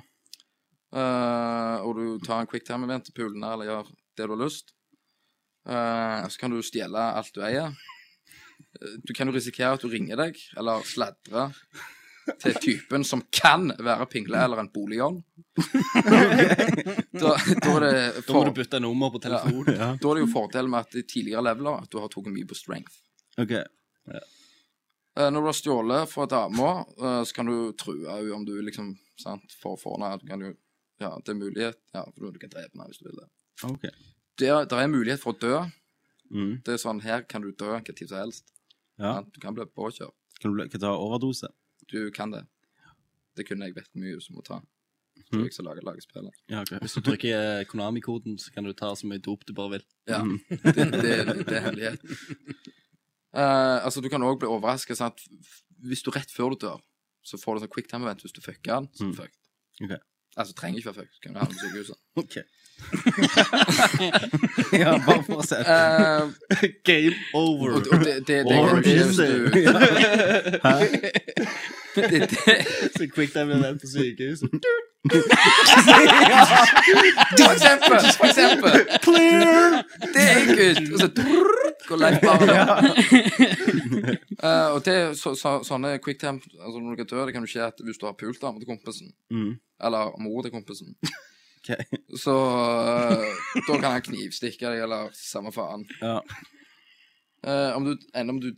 Eh, og du tar en quicktime-event til pulene eller gjør det du har lyst. Eh, så kan du stjele alt du eier. Eh, Du kan jo risikere at du ringer deg eller sladrer til typen som kan være pingle eller en boligjånd. da, da, er det Da må for, du bytte nummer på telefonen. Ja. da er det jo fordelen med at i tidligere leveler at du har tatt mye på strength. Ok. Eh, når du har stjålet fra dama, eh, så kan du true henne om du liksom sant, får for henne. Du kan jo, ja, det er mulighet. Ja, for du kan drepe henne hvis du vil det. Ok. Det er, der er mulighet for å dø. Mm. Det er sånn, Her kan du dø hva tid som helst. Ja. Sant? Du kan bli påkjørt. Kan du kan ta overdose? Du kan det. Det kunne jeg vet mye som må ta. Det Mhm. er jeg som lager, lager spillet. Ja, ok. Hvis du trykker Konami-koden, så kan du ta så mye dop du bare vil. Ja, Mm. det, det, det er hemmelighet. Eh, altså, du kan òg bli overrasket. Sant? Hvis du rett før du dør, så får du sånn quicktime-event. Hvis du fucker den, så er du Mm. fucked. Ok. Altså, du trenger ikke være fucked. Du kan havne på sykehuset. Ok. ja, bare fortsett. Eh, Game og, over! og det, det, det, det, det, det, hvis du- det, det, det Så quicktime event på sykehuset. For eksempel! For eksempel. Det er en gutt. Og så drrrr, går Leif bare Eh, Og det er så, så, sånne quick temp altså Når du er død, det kan du skje at hvis du har pult dama til kompisen, Mm. eller mor til kompisen, Ok. så eh, da kan han knivstikke deg, eller samme faen. Ja. Eh, om du, enn om du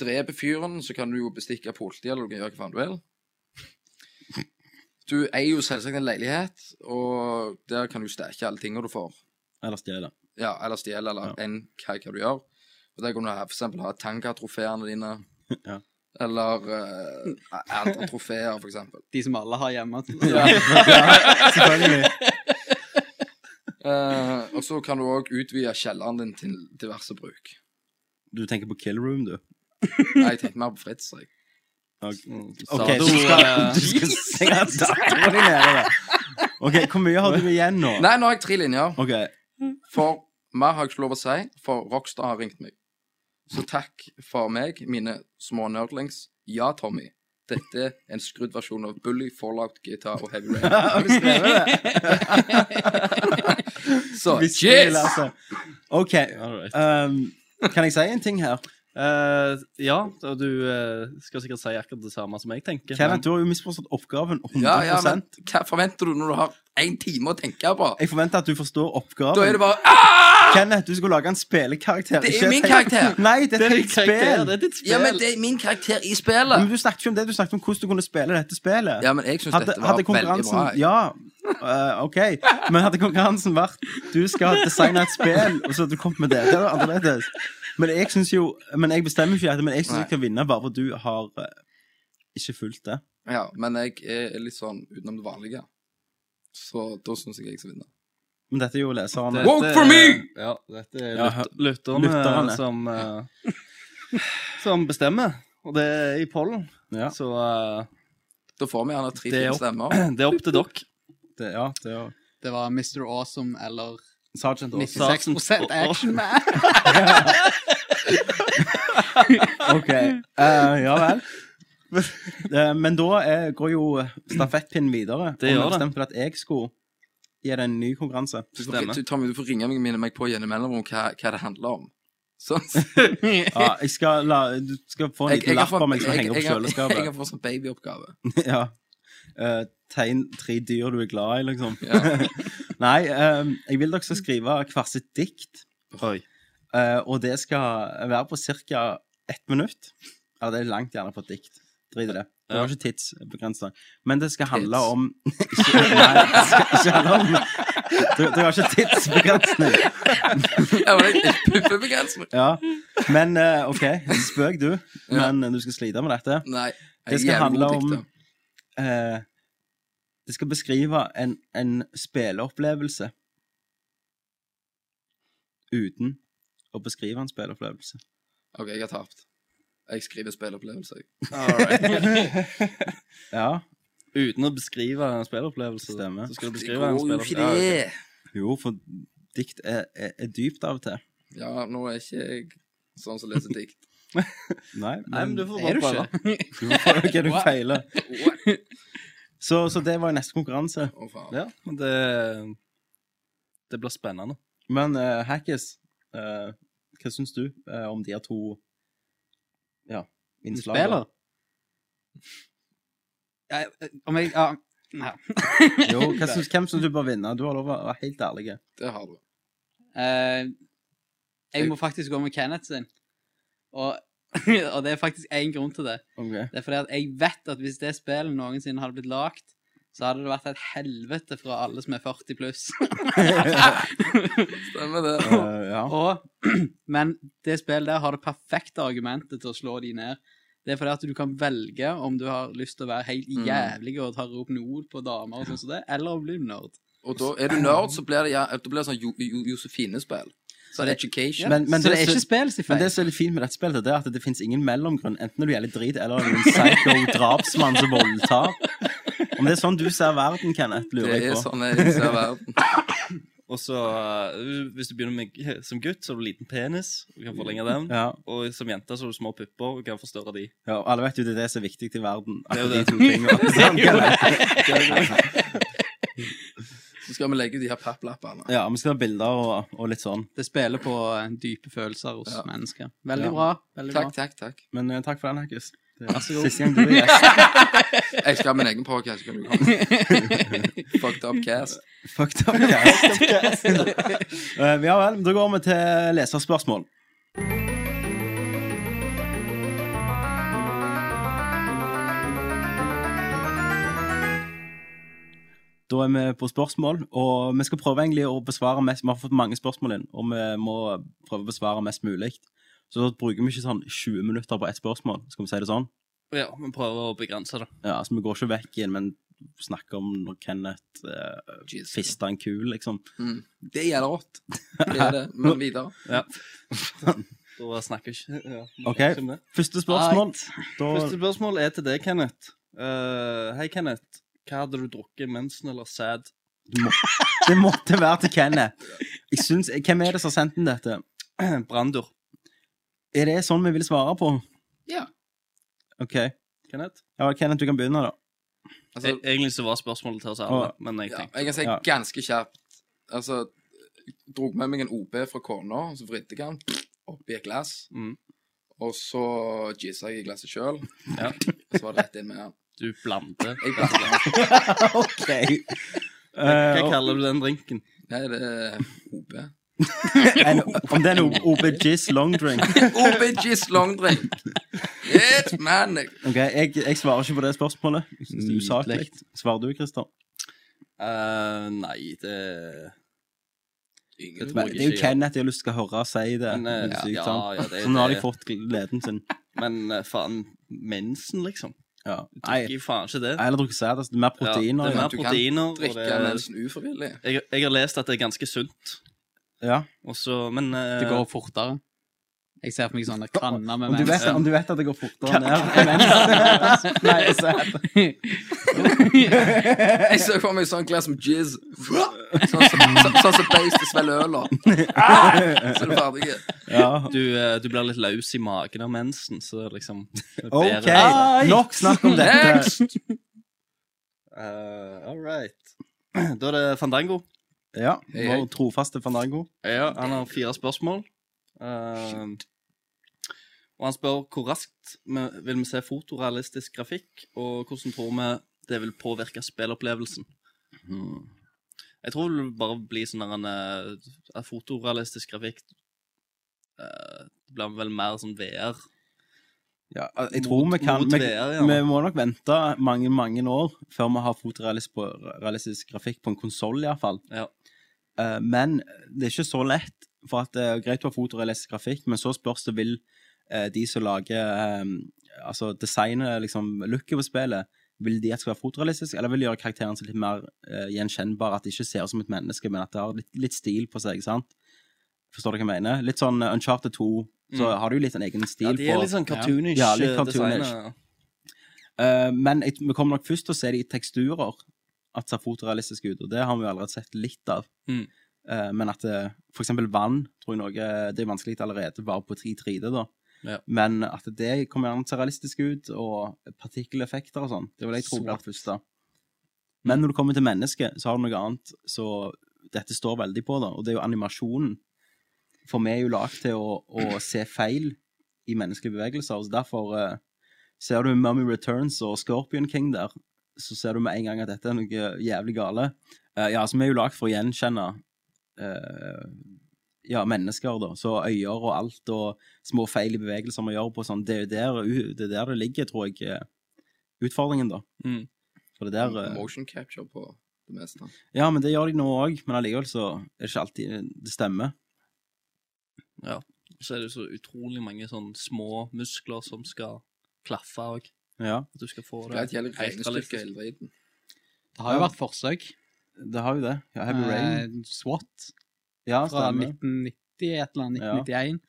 dreper fyren, så kan du jo bestikke politiet, eller du kan gjøre hva faen du vil. Du eier jo selvsagt en leilighet, og der kan du steke alle tingene du får. Eller stjele. Ja, eller stjele, eller Ja. enn hva, hva du gjør. Og der kan du ha- for eksempel ha tangatrofeene dine. Ja. Eller uh, eldre trofeer, for eksempel. De som alle har hjemme. Ja. Ja, selvfølgelig. Eh, og så kan du òg utvide kjelleren din til diverse bruk. Du tenker på Kill Room, du? Nei, jeg tenkte mer på Fritz. Jeg. Mm, Ok, så skal eh, du eh, skal stenge datteren din nede da. Ok, hvor mye har du igjen nå? Nei, nå har jeg tre linjer. Ok, For mer har jeg ikke lov å si, for Rockstar har ringt meg. Så takk for meg, mine små nerdlings. Ja, Tommy. Dette er en skrudd versjon av Bully, Fallout, GTA og Heavy Har du skrevet Rain. Så Chill, cheers! altså. Ok, ehm, kan jeg si en ting her? Eh, ja, og du eh, skal sikkert si akkurat det samme som jeg tenker. Kenneth, du har jo misforstått oppgaven 100%. Ja, ja, men hva forventer du når du har én time å tenke på? Jeg forventer at du forstår oppgaven. Da er det bare ah! Kenneth, du skulle lage en spillekarakter. Det er ikke et min helt- karakter. Nei, det er et Men- helt spill. Det er ditt spill. Ja, men det er min karakter i Men spillet. du snakket ikke om det, du snakket om hvordan du kunne spille dette spillet. Ja, men jeg syns Hadde, dette var hadde veldig konkurransen bra. jeg. Ja, eh, ok. Men hadde konkurransen vært du skal designe et spill, og så hadde du kommet med det, det var annerledes. Men jeg synes jo Men jeg bestemmer ikke dette, men jeg syns jeg Nei. kan vinne bare fordi du har eh, ikke fulgt det. Ja, men jeg er litt sånn utenom det vanlige. Så da syns jeg jeg skal vinne. Men dette er jo leserne. Dette Vote for er- me! Ja, dette er Ja, lyt lytterne, lytterne. som eh, Som bestemmer. Og det er i pollen. Ja. Så eh, Da får vi gjerne tre Det fine er opp. stemmer. det er opp til dere. Det, ja, det er jo Det var Mr. Awesome eller Sergeant Aas. 96 Action Man. Ok, eh, ja vel. Eh, Men da eh, går jo stafettpinnen videre. Det gjør Og vi det. bestemte at jeg skulle gi deg en ny konkurranse. Du får, du, Tommy, du får ringe meg og minne meg på gjennom mellomrom hva, hva det handler om. Sånn. Ja, jeg skal la, du skal få en Jeg, jeg, liten har lapp fått- av meg som jeg, henger jeg, opp jeg, jeg, kjøleskapet. har fått sånn babyoppgave. ja. Eh, tegn tre dyr du er glad i, liksom. Ja. Nei, eh, jeg vil dere skal skrive hvert sitt dikt. Oi. eh, og det skal være på ca. ett minutt. Ja, det er langt gjerne på et dikt. Drit i det. Det var ikke tidsbegrensa. Men det skal handle Tids. om ikke, Nei, det skal ikke handle om Det, det var ikke tidsbegrensning. Ja, men jeg- jeg Puffebegrensning. Ja. Men eh, OK, spøk du. Men eh, du skal slite med dette. Nei. jeg er Det skal jævlig handle god om dikter. eh, Det skal beskrive en, en spilleopplevelse uten å beskrive en spilleopplevelse. OK, jeg har tapt. Jeg skriver spilleopplevelse. jeg. Ja, Uten å beskrive en spilleropplevelse. Stemmer. Så skal du Det beskrive går en jo ikke, spilleropplevelse. Ja, ok. det. jo, for dikt er, er, er dypt av og til. Ja, nå er ikke jeg sånn som leser dikt. Nei, Nei, men du får Er bare du prøve. ikke? du får hva du feiler. What? Så, så det var jo neste konkurranse. Å, faen. Ja, men det Det blir spennende. Men uh, Hackis, eh, hva syns du eh, om de her to ja, innslagene? Spiller. Ja, Om jeg ja. Nei. Jo, hva syns- hvem syns du bør vinne? Du har lov å være helt ærlig. Det har du. Eh, jeg må faktisk gå med Kenneth sin. Og, og det er faktisk én grunn til det. Okay. Det er fordi at jeg vet at hvis det spillet noensinne hadde blitt lagt, så hadde det vært et helvete fra alle som er 40 pluss. Stemmer det. Eh, ja. Og, men det spillet der har det perfekte argumentet til å slå de ned. Det er fordi at du kan velge om du har lyst til å være helt Mm. jævlig og ta ropenol på damer og sånn som det, eller å bli nerd. Og da er du nerd, så blir det, ja, da blir det sånn jo, jo, Josefine-spill. Så er det Ja. education. Men- men så det det er som- ikke spillet sin Men feil. det som er litt fint med dette spillet, det er at det finnes ingen mellomgrunn. Enten er du gjelder drit, eller er du en psycho-drapsmann som voldtar. Om det er sånn du ser verden, Kenneth, Det lurer jeg er på. sånn jeg ser verden. Og så, eh, hvis du begynner med, som gutt, så har du liten penis. Du kan forlenge den. Ja, Og som jente så har du små pupper og kan forstørre de. ja, og alle vet jo det er det som er viktig i verden. Det er jo akkurat det. de to tingene. Sant, Kenneth? Så skal vi legge ut de her papplappene. Ja, vi skal ha bilder og, og litt sånn. Det spiller på eh, dype følelser hos Ja. mennesker. Veldig Ja. bra. veldig Takk, bra. takk, takk. Men eh, takk for den, Hakus. Det er Vær så god. Siste gang du er gjest. Jeg skal ha min egen podcast. Kan du komme? Fucked up cast. Fucked up, Kenneth. Eh, ja vel, da går vi til leserspørsmål. Da er vi på spørsmål, og vi skal prøve egentlig å besvare mest Vi har fått mange spørsmål inn, og vi må prøve å besvare mest mulig. Så da bruker vi ikke sånn 20 minutter på ett spørsmål, skal vi si det sånn. Ja, vi prøver å begrense det. Ja, altså Vi går ikke vekk igjen, men snakker om når Kenneth uh, fista en kul, liksom. Mm. Det gjelder rått. Det er det, men videre. Ja. da snakker vi ikke. Ja. OK, snakker vi. første spørsmål. Da, Første spørsmål er til deg, Kenneth. Eh, hei, Kenneth. Hva hadde du drukket? Mensen eller sæd? det måtte være til Kenneth. Jeg synes, hvem er det som har sendt inn dette? Brandur. Er det sånn vi vil svare på? Ja. OK. Kenneth? Ja, Kenneth, du kan begynne, da. Altså, E- Egentlig så var spørsmålet til oss alle, men jeg ja, tenkte jeg kan si Ja. ganske kjerpt. Altså, jeg drog med meg en OB fra kona, og så vridde jeg den oppi et glass. Mm. Og så jizza jeg i glasset sjøl. Ja. Og så var det rett inn med den. du blander. Jeg blander. OK. Eh, Hva kaller du den drinken? Nei, det er OB. En, om det er en OBGs long drink OB jizz long drink. It's manic. Ok, jeg, jeg svarer ikke på det spørsmålet. Jeg synes det er usaklig. Nydelig. Svarer du, Christer? Eh, nei, det Ingen Det tror Det jeg er jo ikke, ja. Kenneth jeg har lyst til å høre si det. Men, eh, Det er sykt, ja, sant? ja, det- så nå har de det- fått gleden sin. Men eh, faen, mensen, liksom. Ja. Du Nei, drikker jo faen ikke det. jeg har drukket sæd. altså, Det er mer Ja, proteiner. det er Ja, mer Du kan proteiner. og drikke det, mensen ufrivillig. jeg, jeg har lest at det er ganske sunt. ja. Og så, men eh, Det går fortere. Jeg ser for meg sånne kanner med Om, du vet, mensen. om du vet at det går fortere ned mens Nei, sæd. Jeg ser for meg sånn glass med jizz. Sånn som så, sånn som Beist svelger øl av. Ah! Så er du ferdig. Ja. du, eh, du blir litt løs i magen av mensen, så liksom det er bedre. OK, nok snakk om dette. Next! Eh, all right. Da er det Fandango. Ja, Hei, Vår hei. trofaste fandango. Ja, han har fire spørsmål. Eh, og han spør hvor raskt vi vil vi se fotorealistisk grafikk, og hvordan tror vi det vil påvirke spillopplevelsen. Mhm. Jeg tror det vil bare bli sånn der en eh, at fotorealistisk grafikk eh, Det blir vel mer sånn VR. Ja, jeg tror Mot- vi kan mot vi, VR, ja. vi må nok vente mange, mange år før vi har fotorealistisk på- realistisk grafikk på en konsoll, iallfall. Ja. Uh, men det er ikke så lett, for at det er greit å ha fotorealistisk grafikk, men så spørs det vil eh, de som lager eh, Altså designer liksom looket på spillet, vil de at det skal være fotorealistisk, eller vil de gjøre karakteren sin litt mer eh, gjenkjennbar, at det ikke ser ut som et menneske, men at det har litt, litt stil på seg, sant? Forstår du hva jeg mener? Litt sånn eh, Uncharted 2, så Mm. har du jo litt en egen stil Ja, de er på litt sånn cartoonish Ja, litt eh, cartoonish. designer. Eh, men jeg, vi kommer nok først til å se det i teksturer, at det ser fotorealistisk ut, og det har vi jo allerede sett litt av. Mm. Eh, men at eh, for eksempel vann, tror jeg noe, det er vanskelig allerede bare på 3D, da. Ja. Men at det kommer gjerne til å se realistisk ut, og partikkeleffekter og sånn, det vil jeg tro blir det første. Men når du kommer til mennesket, så har du noe annet, så dette står veldig på, da, og det er jo animasjonen. For vi er jo lagd til å, å se feil i menneskelige bevegelser, så derfor eh, Ser du Mummy Returns og Scorpion King der, så ser du med en gang at dette er noe jævlig gale. Eh, ja, altså, vi er jo lagd for å gjenkjenne eh, ja, mennesker, da. Så øyer og alt, og små feil i bevegelser vi gjør på sånn, det er jo der u- det, er der det ligger, tror jeg, eh, utfordringen, da. Mm. For det der Mm. eh, Motion capture på det meste. Ja, men det gjør de nå òg, men allikevel så er det ikke alltid det stemmer. Så er det så utrolig mange sånn små muskler som skal klaffe òg. Ja, At du skal få Det det er et jævlig helt regnestykke realistisk. hele driten. Det har jo vært forsøk. det har jo det. Ja, Heavy Rain. Eh, SWAT Ja, fra stemmer. 1990 et eller annet, 1991.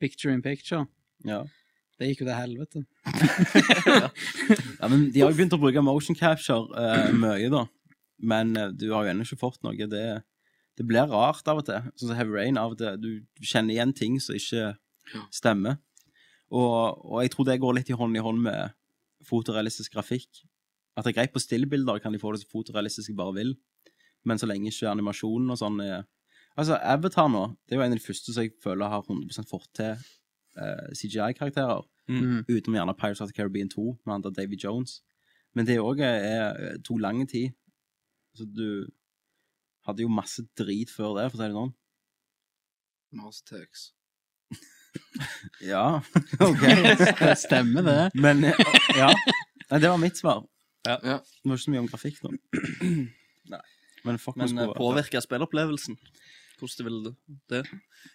Picture in picture. Ja. Det gikk jo til helvete. Ja, men De har jo begynt å bruke motion capture eh, mye, da. Men eh, du har jo ennå ikke fått noe. Det, det blir rart av og til. Sånn som Heavy Rain. av og til, Du kjenner igjen ting som ikke stemmer. Og, og jeg tror det går litt i hånd i hånd med fotorealistisk grafikk. At det er greit på stillbilder, kan de få det så fotorealistisk de bare vil. Men så lenge ikke animasjonen og sånn er Altså, Avatar nå, det er jo en av de første som jeg føler har 100 fått til eh, CGI-karakterer. Mm. Utenom gjerne Pirates of the Caribbean 2 med han der Davy Jones. Men det òg tok lang tid. Så du hadde jo masse drit før det, for å si det sånn. Mastertex. Ja, OK. Det stemmer, det. Men eh, ja. Nei, det var mitt svar. Ja. Ja. Det var ikke så mye om grafikk, da. Nei. Men fuck Men meg eh, påvirker spillopplevelsen. Hvordan vil det det?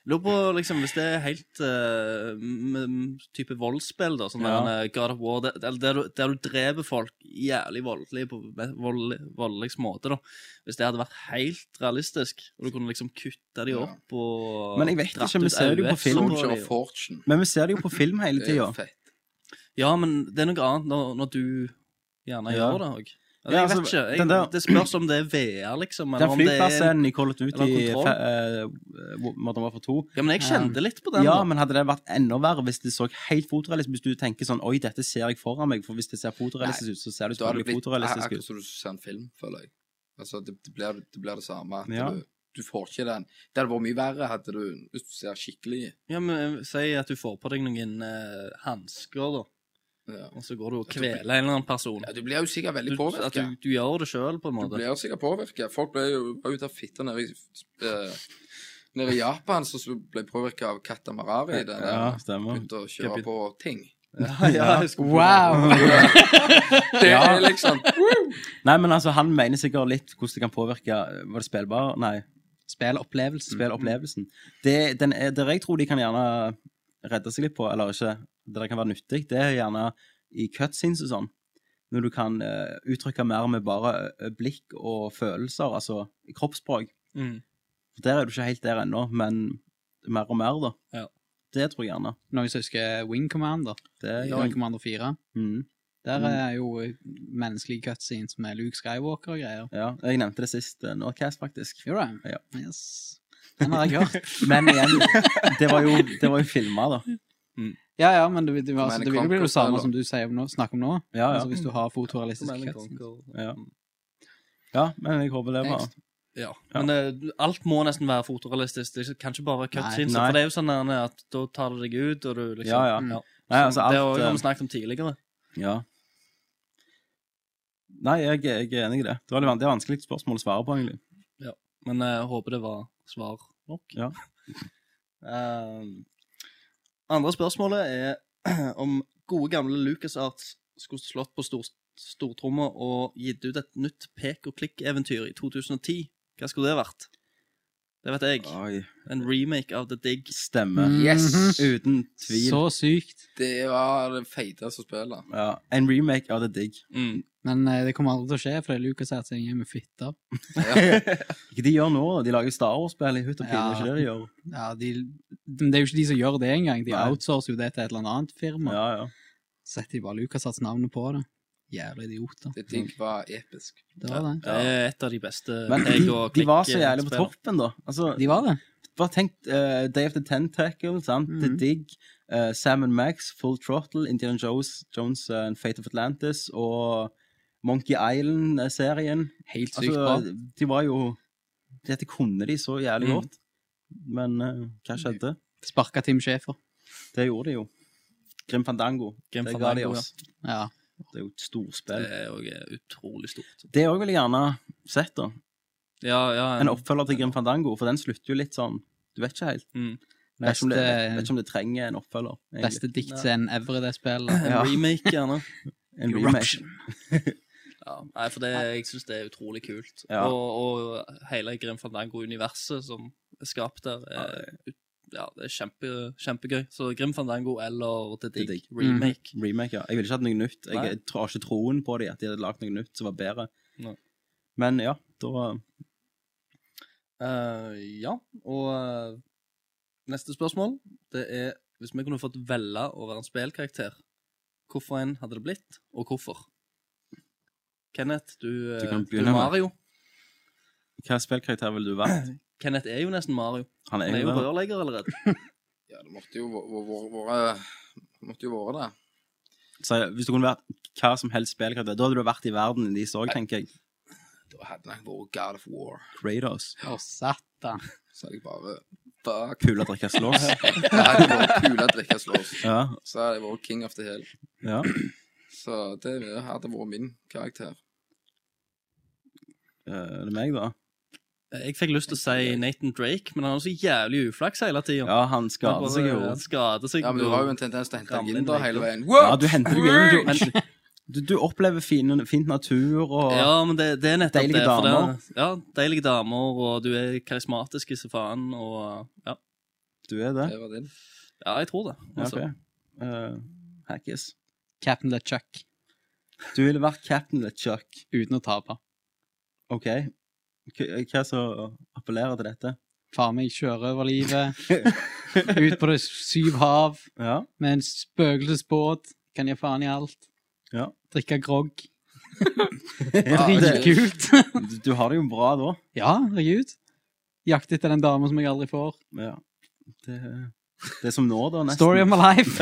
Lurer på, liksom, hvis det er helt eh, m- m- type voldsspill, da, sånn Ja. der, eh, God of War, der, der, der, du, der du dreper folk jævlig voldelig på ve- voldelig, voldelig måte, da. Hvis det hadde vært helt realistisk, og du kunne liksom kutte de opp og Men jeg vet dratt ikke, vi ut Eh, ser det jo øyet på film. på de, og- Fortune. Men vi ser det jo på film hele Det er jo tida. fett. Ja, men det er noe annet når, når du gjerne Ja. gjør det òg. Ja, jeg vet altså, ikke. Jeg, den der- det spørs om det er VR, liksom. Eller Den om det er flyplassen i Call of Duty eller kontroll. fe- eh, Modern Warfare 2 Ja, men jeg kjente litt på den. Ja, da. men hadde det vært enda verre hvis det så helt fotorealistisk Hvis du tenker sånn Oi, dette ser jeg foran meg, for hvis det ser fotorealistisk ut, så ser det Da er selvfølgelig det blitt ak- fotorealistisk akkurat ut. som du ser en film, føler jeg. Altså, det, det, blir, det blir det samme. At Ja. du, du får ikke den. Det hadde vært mye verre hadde du, hvis du ser skikkelig Ja, men eh, Si at du får på deg noen uh, hansker, da. ja. Og så går du og kveler en eller annen person. Ja, Du blir jo sikkert veldig Du, at påvirka. du, du gjør det sjøl, på en Du måte. blir jo sikkert påvirka. Folk ble jo var ute av fitta nede i eh, Nede i Japan så så ble påvirka av Katamarari. Den der, Ja, stemmer. Begynte å kjøre Kapit- på ting. Ja. Wow! Det er liksom Nei, men altså, han mener sikkert litt hvordan det kan påvirke Var det spillbar? Nei. Spillopplevelsen. Spillopplevelsen. Det, den er, der jeg tror de kan gjerne redde seg litt på, eller ikke, det der kan være nyttig, det er gjerne i cutscenes og sånn. Når du kan eh, uttrykke mer med bare eh, blikk og følelser, altså kroppsspråk. Mm. Der er du ikke helt der ennå, men mer og mer, da. Ja. Det tror jeg gjerne. Noen som husker Wing Commander? Det gjør Wing jeg. Commander 4. Mm. Der er jo menneskelige cutscenes med Luke Skywalker og greier. Ja, jeg nevnte det sist, uh, Nordcast, faktisk. Gjorde Ja. det? Yes. Den har jeg hørt. Men igjen, det var jo, det var jo filma, da. Ja, ja, men det, det, altså, Men det vil jo bli Conquer, det samme eller? som du sier om nå, snakker om nå. Ja, ja. Altså, hvis du har fotorealistiske cutscenes. Ja. ja, men jeg håper det var Next. liksom. Ja. Men eh, alt må nesten være fotorealistisk. Det kan ikke bare være cutscenes. nei. For det er jo sånn der, at da tar det deg ut, og du liksom Ja, ja. Mm. Nei, altså det har alt vi uh, snakket om tidligere. Ja. Nei, jeg, jeg er enig i det. Det var litt van- det er vanskelig spørsmål å svare på, egentlig. Men eh, jeg håper det var svar nok. Ja. Ehm, andre spørsmålet er om gode gamle LucasArts skulle slått på stor, stortromma og gitt ut et nytt pek-og-klikk-eventyr i 2010. Hva skulle det vært? Det vet jeg. Oi. En remake av The Dig. Stemme. Yes! Uten tvil. Så sykt. Det var det feiteste spillet. Ja. En remake av The Dig. Men eh, det kommer aldri til å skje, for det er Lucas her som gir med fitte. Ikke de gjør nå, de lager Star Wars-spill i hutt og pine, Ja. ikke det de gjør? Ja, de, men det er jo ikke de som gjør det engang. De Nei. outsourcer jo det til et eller annet firma. Ja, ja. Setter de bare Lucas Arts navnet på det. Jævla idioter. Det digg var episk. Det var det. Det er et av de beste Men de, de var så jævlig på pek-og-klikk-spillene. toppen, da. Altså, De var det. bare tenk eh, Day of the Tentacle, sant? The Mhm. Dig, eh, Sam and Max, Full Throttle, Indiana Jones, Jones and Fate of Atlantis og Monkey Island-serien. Helt sykt bra. Mhm. Altså, de var jo Dette kunne de så jævlig Mm. godt. Men eh, hva skjedde? Sparka Tim Schäfer. Det gjorde de jo. Grim Fandango. Grim det ga de Fandango, ja. oss. Ja. Det er jo et storspill. Det er også utrolig stort. Det òg ville jeg gjerne sett, da. Ja, ja, En oppfølger til Grim Fandango, for den slutter jo litt sånn Du vet ikke helt. Mm. Jeg vet ikke om det, Beste- jeg vet ikke om det trenger en oppfølger. egentlig. Beste diktscenen ever i det spillet. en ja. remake, gjerne. En remake. Ja, nei, for det, jeg syns det er utrolig kult. Ja. Og, og hele Grim Fandango-universet som er skapt der, er, ja, det er kjempe, kjempegøy. Så Grim Fandango eller The The Dig, Dig. remake. Remake, ja. Jeg ville ikke hatt noe nytt. Jeg Nei. jeg har ikke troen på det, at de hadde lagd noe nytt som var bedre. Nei. Men ja, da Eh, ja, og eh, neste spørsmål, det er Hvis vi kunne fått velge å være en spillkarakter, hvorfor en hadde det blitt, og hvorfor? Kenneth, du, Du eh, kan du begynne er med. Mario. Hva spillkarakter ville du vært? Kenneth er jo nesten Mario. Han Han er jo det. rørlegger allerede. Ja, det måtte jo vært Måtte jo vært det. Så hvis du kunne vært hva som helst spillkarakter, da hadde du vært i verden de så, tenker jeg. Da hadde det vært God of War. Kratos. Å, satan. Så hadde jeg bare Fuck. Kule drikker slåss. Det hadde vært kule drikkeslås. Ja, Så hadde jeg vært king of the hill. ja. Så det hadde vært min karakter. Eh, er det meg, da? Jeg fikk lyst til å si Nathan Drake, men han har så jævlig uflaks hele tida. Ja, han skader seg jo. Han skader seg Ja, men du og- har jo en tendens til å hente Gamle deg inn da Nathan. hele veien. Ja, du henter jo inn, du. Men Du, du opplever fine, fint natur og Ja, men det, det er nettopp deilige det. for damer. Det, ja, deilige damer, og du er karismatisk i så faen, og ja. Du er det? Det var din. Ja, jeg tror det. Ja, Altså. ok. Eh, Hackis. Captain LeChuck, Du ville vært cap'n LeChuck. uten å tape. OK. Hva hva som appellerer til dette? Far meg kjører over livet, ut på det syv hav, Ja. med en spøkelsesbåt, kan jeg faen i alt. Ja. Drikke grogg. det- Dritkult! du, du har det jo bra da. ja, herregud. Jakte etter den dama som jeg aldri får. Ja. Det, det er som nå, da, nesten. Story of my life!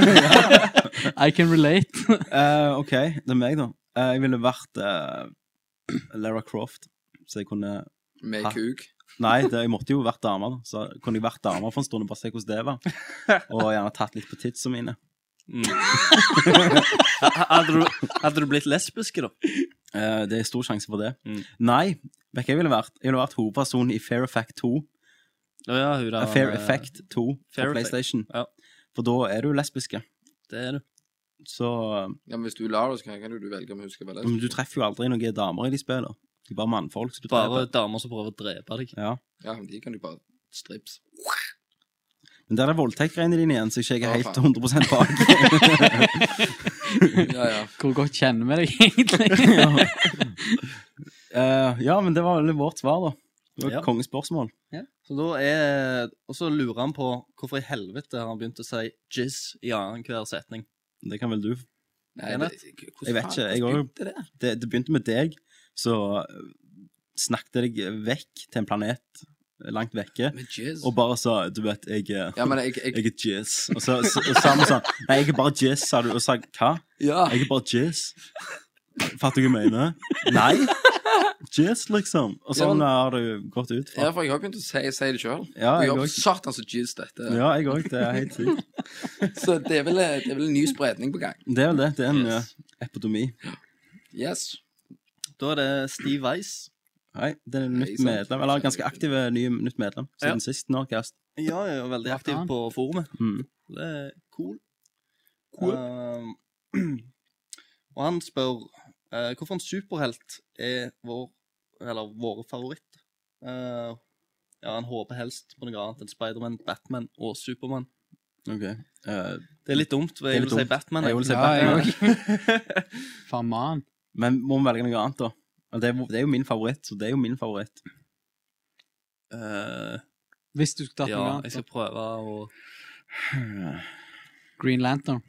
I can relate. Eh, OK, det er meg, da. Eh, jeg ville vært eh, Lara Croft, så jeg kunne Med Hæ? kuk. Nei, det, jeg måtte jo vært dame, da. Så kunne jeg vært dame for en stund og bare se hvordan det var. Og gjerne tatt litt på tidsa mine. Mm. Ha- hadde, du, hadde du blitt lesbiske, da? Eh, det er stor sjanse for det. Mm. Nei, vet du hva jeg ville vært? Jeg ville vært hovedperson i Fair Effect 2. Å ja, hun der, Eh, Fair eh, Effect 2 Fair på Effect, PlayStation. ja. For da er du lesbiske. Det er du. Så eh, Ja, men Hvis du lar oss, kan kan jo du velge om hun skal være Men du lesbisk. treffer jo aldri noen damer i de spillene. Det er bare mannfolk som du Bare treffer. damer som prøver å drepe deg. Ja. Ja, men de kan jo bare strips. Men der er voldtektgreiene dine igjen, så jeg ikke Å, er helt faen. 100 bak. Ja, ja. Hvor godt kjenner vi deg egentlig? Eh, ja, men det var vel vårt svar, da. Det var Ja. et Kongespørsmål. Så da er Og så lurer han på hvorfor i helvete har han begynt å si jizz i annenhver setning. Det kan vel du Nei, Kenneth? hvordan Jeg vet ikke, faen- jeg hvordan går jo- begynte det? det, det begynte med deg, så øh, snakket jeg deg vekk til en planet langt vekke, Med jizz. og bare sa, du vet, jeg, er- Ja, men jeg, jeg, jeg er jizz. Og så så- og sa vi sånn, nei, jeg er bare jizz, sa du, og sa, hva? ja. Jeg er bare jizz. Fatter du hva jeg mener? Nei, jizz liksom. Og Ja, sånn men- har du gått ut ja, fra. for jeg har begynt å si, si det sjøl. Ja, Og jeg jeg har også. satan så jizz dette. Ja, jeg òg. Det er helt sykt. Så det er, vel, eh, det er vel en ny spredning på gang. Det er vel det. Det er en Yes. øh, epidomi. Yes. Da er det Steve Weiss. Nei, det er en Nei, nytt sant. medlem. Eller ganske aktive nye nytt medlem Ja. siden sist Norcast. Ja, jeg er veldig aktiv Blant annet. på forumet. Mm. Det er cool. Cool. Um, og han spør eh, hvorfor en superhelt er vår Eller våre favoritt. Eh, ja, han håper helst på noe annet enn Spiderman, Batman og Supermann. Ok. Eh, Det er litt dumt, for Det jeg er vil si litt dumt. Batman. Jeg vil si Ja, Batman. jeg Faen mann. Men må vi velge noe annet, da? Og Det er, det er jo min favoritt, så det er jo min favoritt. Eh, Hvis du skulle tatt ja, noe jeg annet. skal da. prøve å Green Lantern.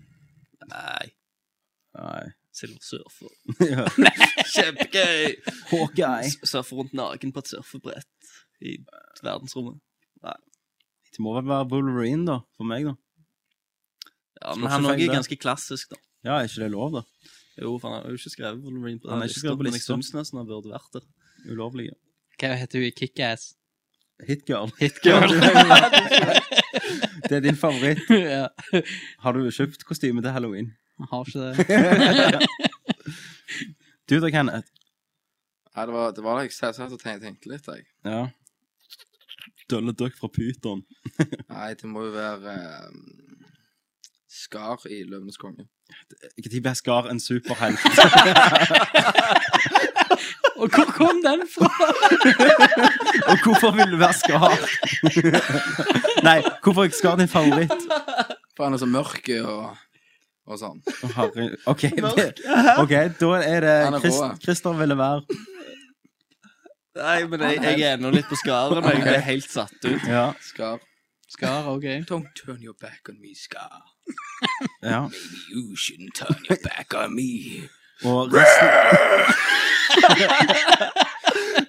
Nei, Nei. Silver Surfer. Ja. Kjempegøy! Hawkeye. S- Surfer rundt naken på et surfebrett i verdensrommet. Det må vel være Wolverine, da. For meg, da. Ja, Skal men han ikke også feile er det. ganske klassisk, da. Ja, er ikke det lov, da? Jo, for han har jo ikke skrevet Wolverine på Han den har ikke skrevet lista, på men jeg lista. syns nesten han burde vært der. Ulovlige. Hva heter hun i Kickass? Hitgirl. Hitgirl. Det er din favoritt. ja. Har du kjøpt kostyme til halloween? Han har ikke det. Du da, Kenneth? Nei, det var det var da jeg satt satt og tenkte, tenkte litt, jeg. Ja. Dølle Duck fra Pyton. Nei, det må jo være eh, Skar i Løvenes konge. Når ble Skar en superhelt? Og hvor kom den fra? Og hvorfor vil du være Skar? Nei, hvorfor er Skar din favoritt? For han er så mørk eh, og, og sånn. Å, herre... OK, det... ok, da er det Han er Chris... rå. Christer ville være Nei, men jeg, jeg er ennå litt på skaren. Jeg er helt satt ut. Ja. Skar. Skar, ok. Don't turn your back on me, Skar. ja. You shouldn't turn your back on me. Og resten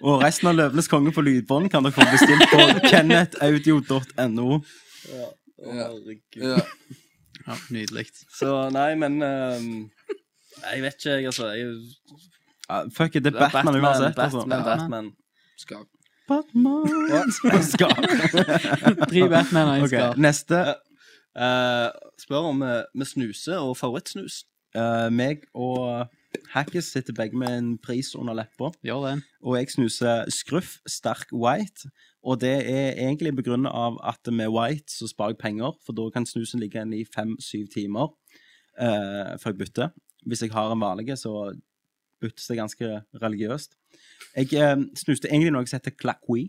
Og resten av Løvenes konge på lydbånd kan dere få bestilt på kennethaudio.no. Ja. Ja, Nydelig. Så nei, men ehm, Nei, jeg vet ikke, jeg, altså. Jeg, Ja, fuck it, det er Batman uansett. altså. Batman, Batman. Skar. Batman. Skar. Tre Batmaner i Ok, Skar. Neste. Eh, spør om eh, vi snuser og favorittsnus. Eh, meg og Hackis sitter begge med en pris under leppa. Gjør den. Og jeg snuser Scruff Sterk White. Og det er egentlig begrunnet av at med White så sparer jeg penger, for da kan snusen ligge igjen i fem-syv timer eh, før jeg bytter. hvis jeg har en vanlig, så byttes det ganske religiøst. Jeg eh, snuste egentlig noe som heter Clackwe.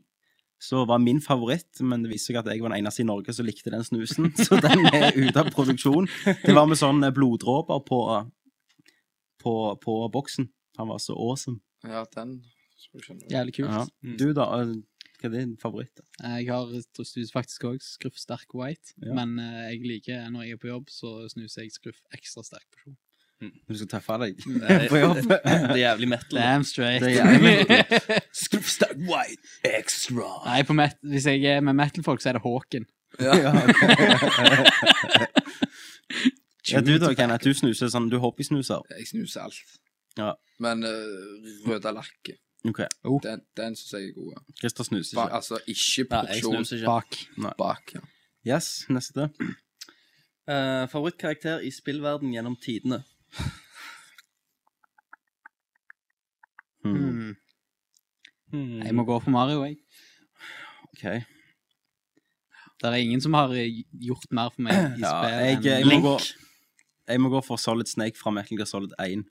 Så var min favoritt, men det viste seg at jeg var den eneste i Norge som likte den snusen. Så den er ute av produksjon. Det var med sånn bloddråper på, eh, på, på boksen. Han var så awesome. Ja, den Jævlig kult. Mm. Ja. Mm. Du, da? eh, Hva er din favoritt? da? Eh, Jeg har snus faktisk òg, skruff sterk white, Ja. men eh, jeg liker når jeg er på jobb, så snuser jeg skruff ekstra sterk på jobb. Du skal treffe deg Nei, på jobb. Det er jævlig metal. da. Damn straight. Det er jævlig Skruff Stark White Extra. Nei, på met hvis jeg er med metal-folk, så er det Hawken. Ja, ja, du da, Kenneth. Du snuser sånn, du hobbysnuser. Jeg snuser alt. Ja. Men uh, røde lakke, Ok, den, den syns jeg er god. ja. Christer snuser Ba, ikke. altså ikke Nei, jeg porsjon snuser ikke. Bak. bak. Ja. Yes, neste. Eh, favorittkarakter i spillverden gjennom tidene. Hmm. Mm. Hmm. Jeg må gå for Mario, jeg. Ok. Det er ingen som har eh, gjort mer for meg i Ja, spill jeg, enn jeg, må Link. gå, jeg må gå for Solid Snake fra Metal Gear Solid 1,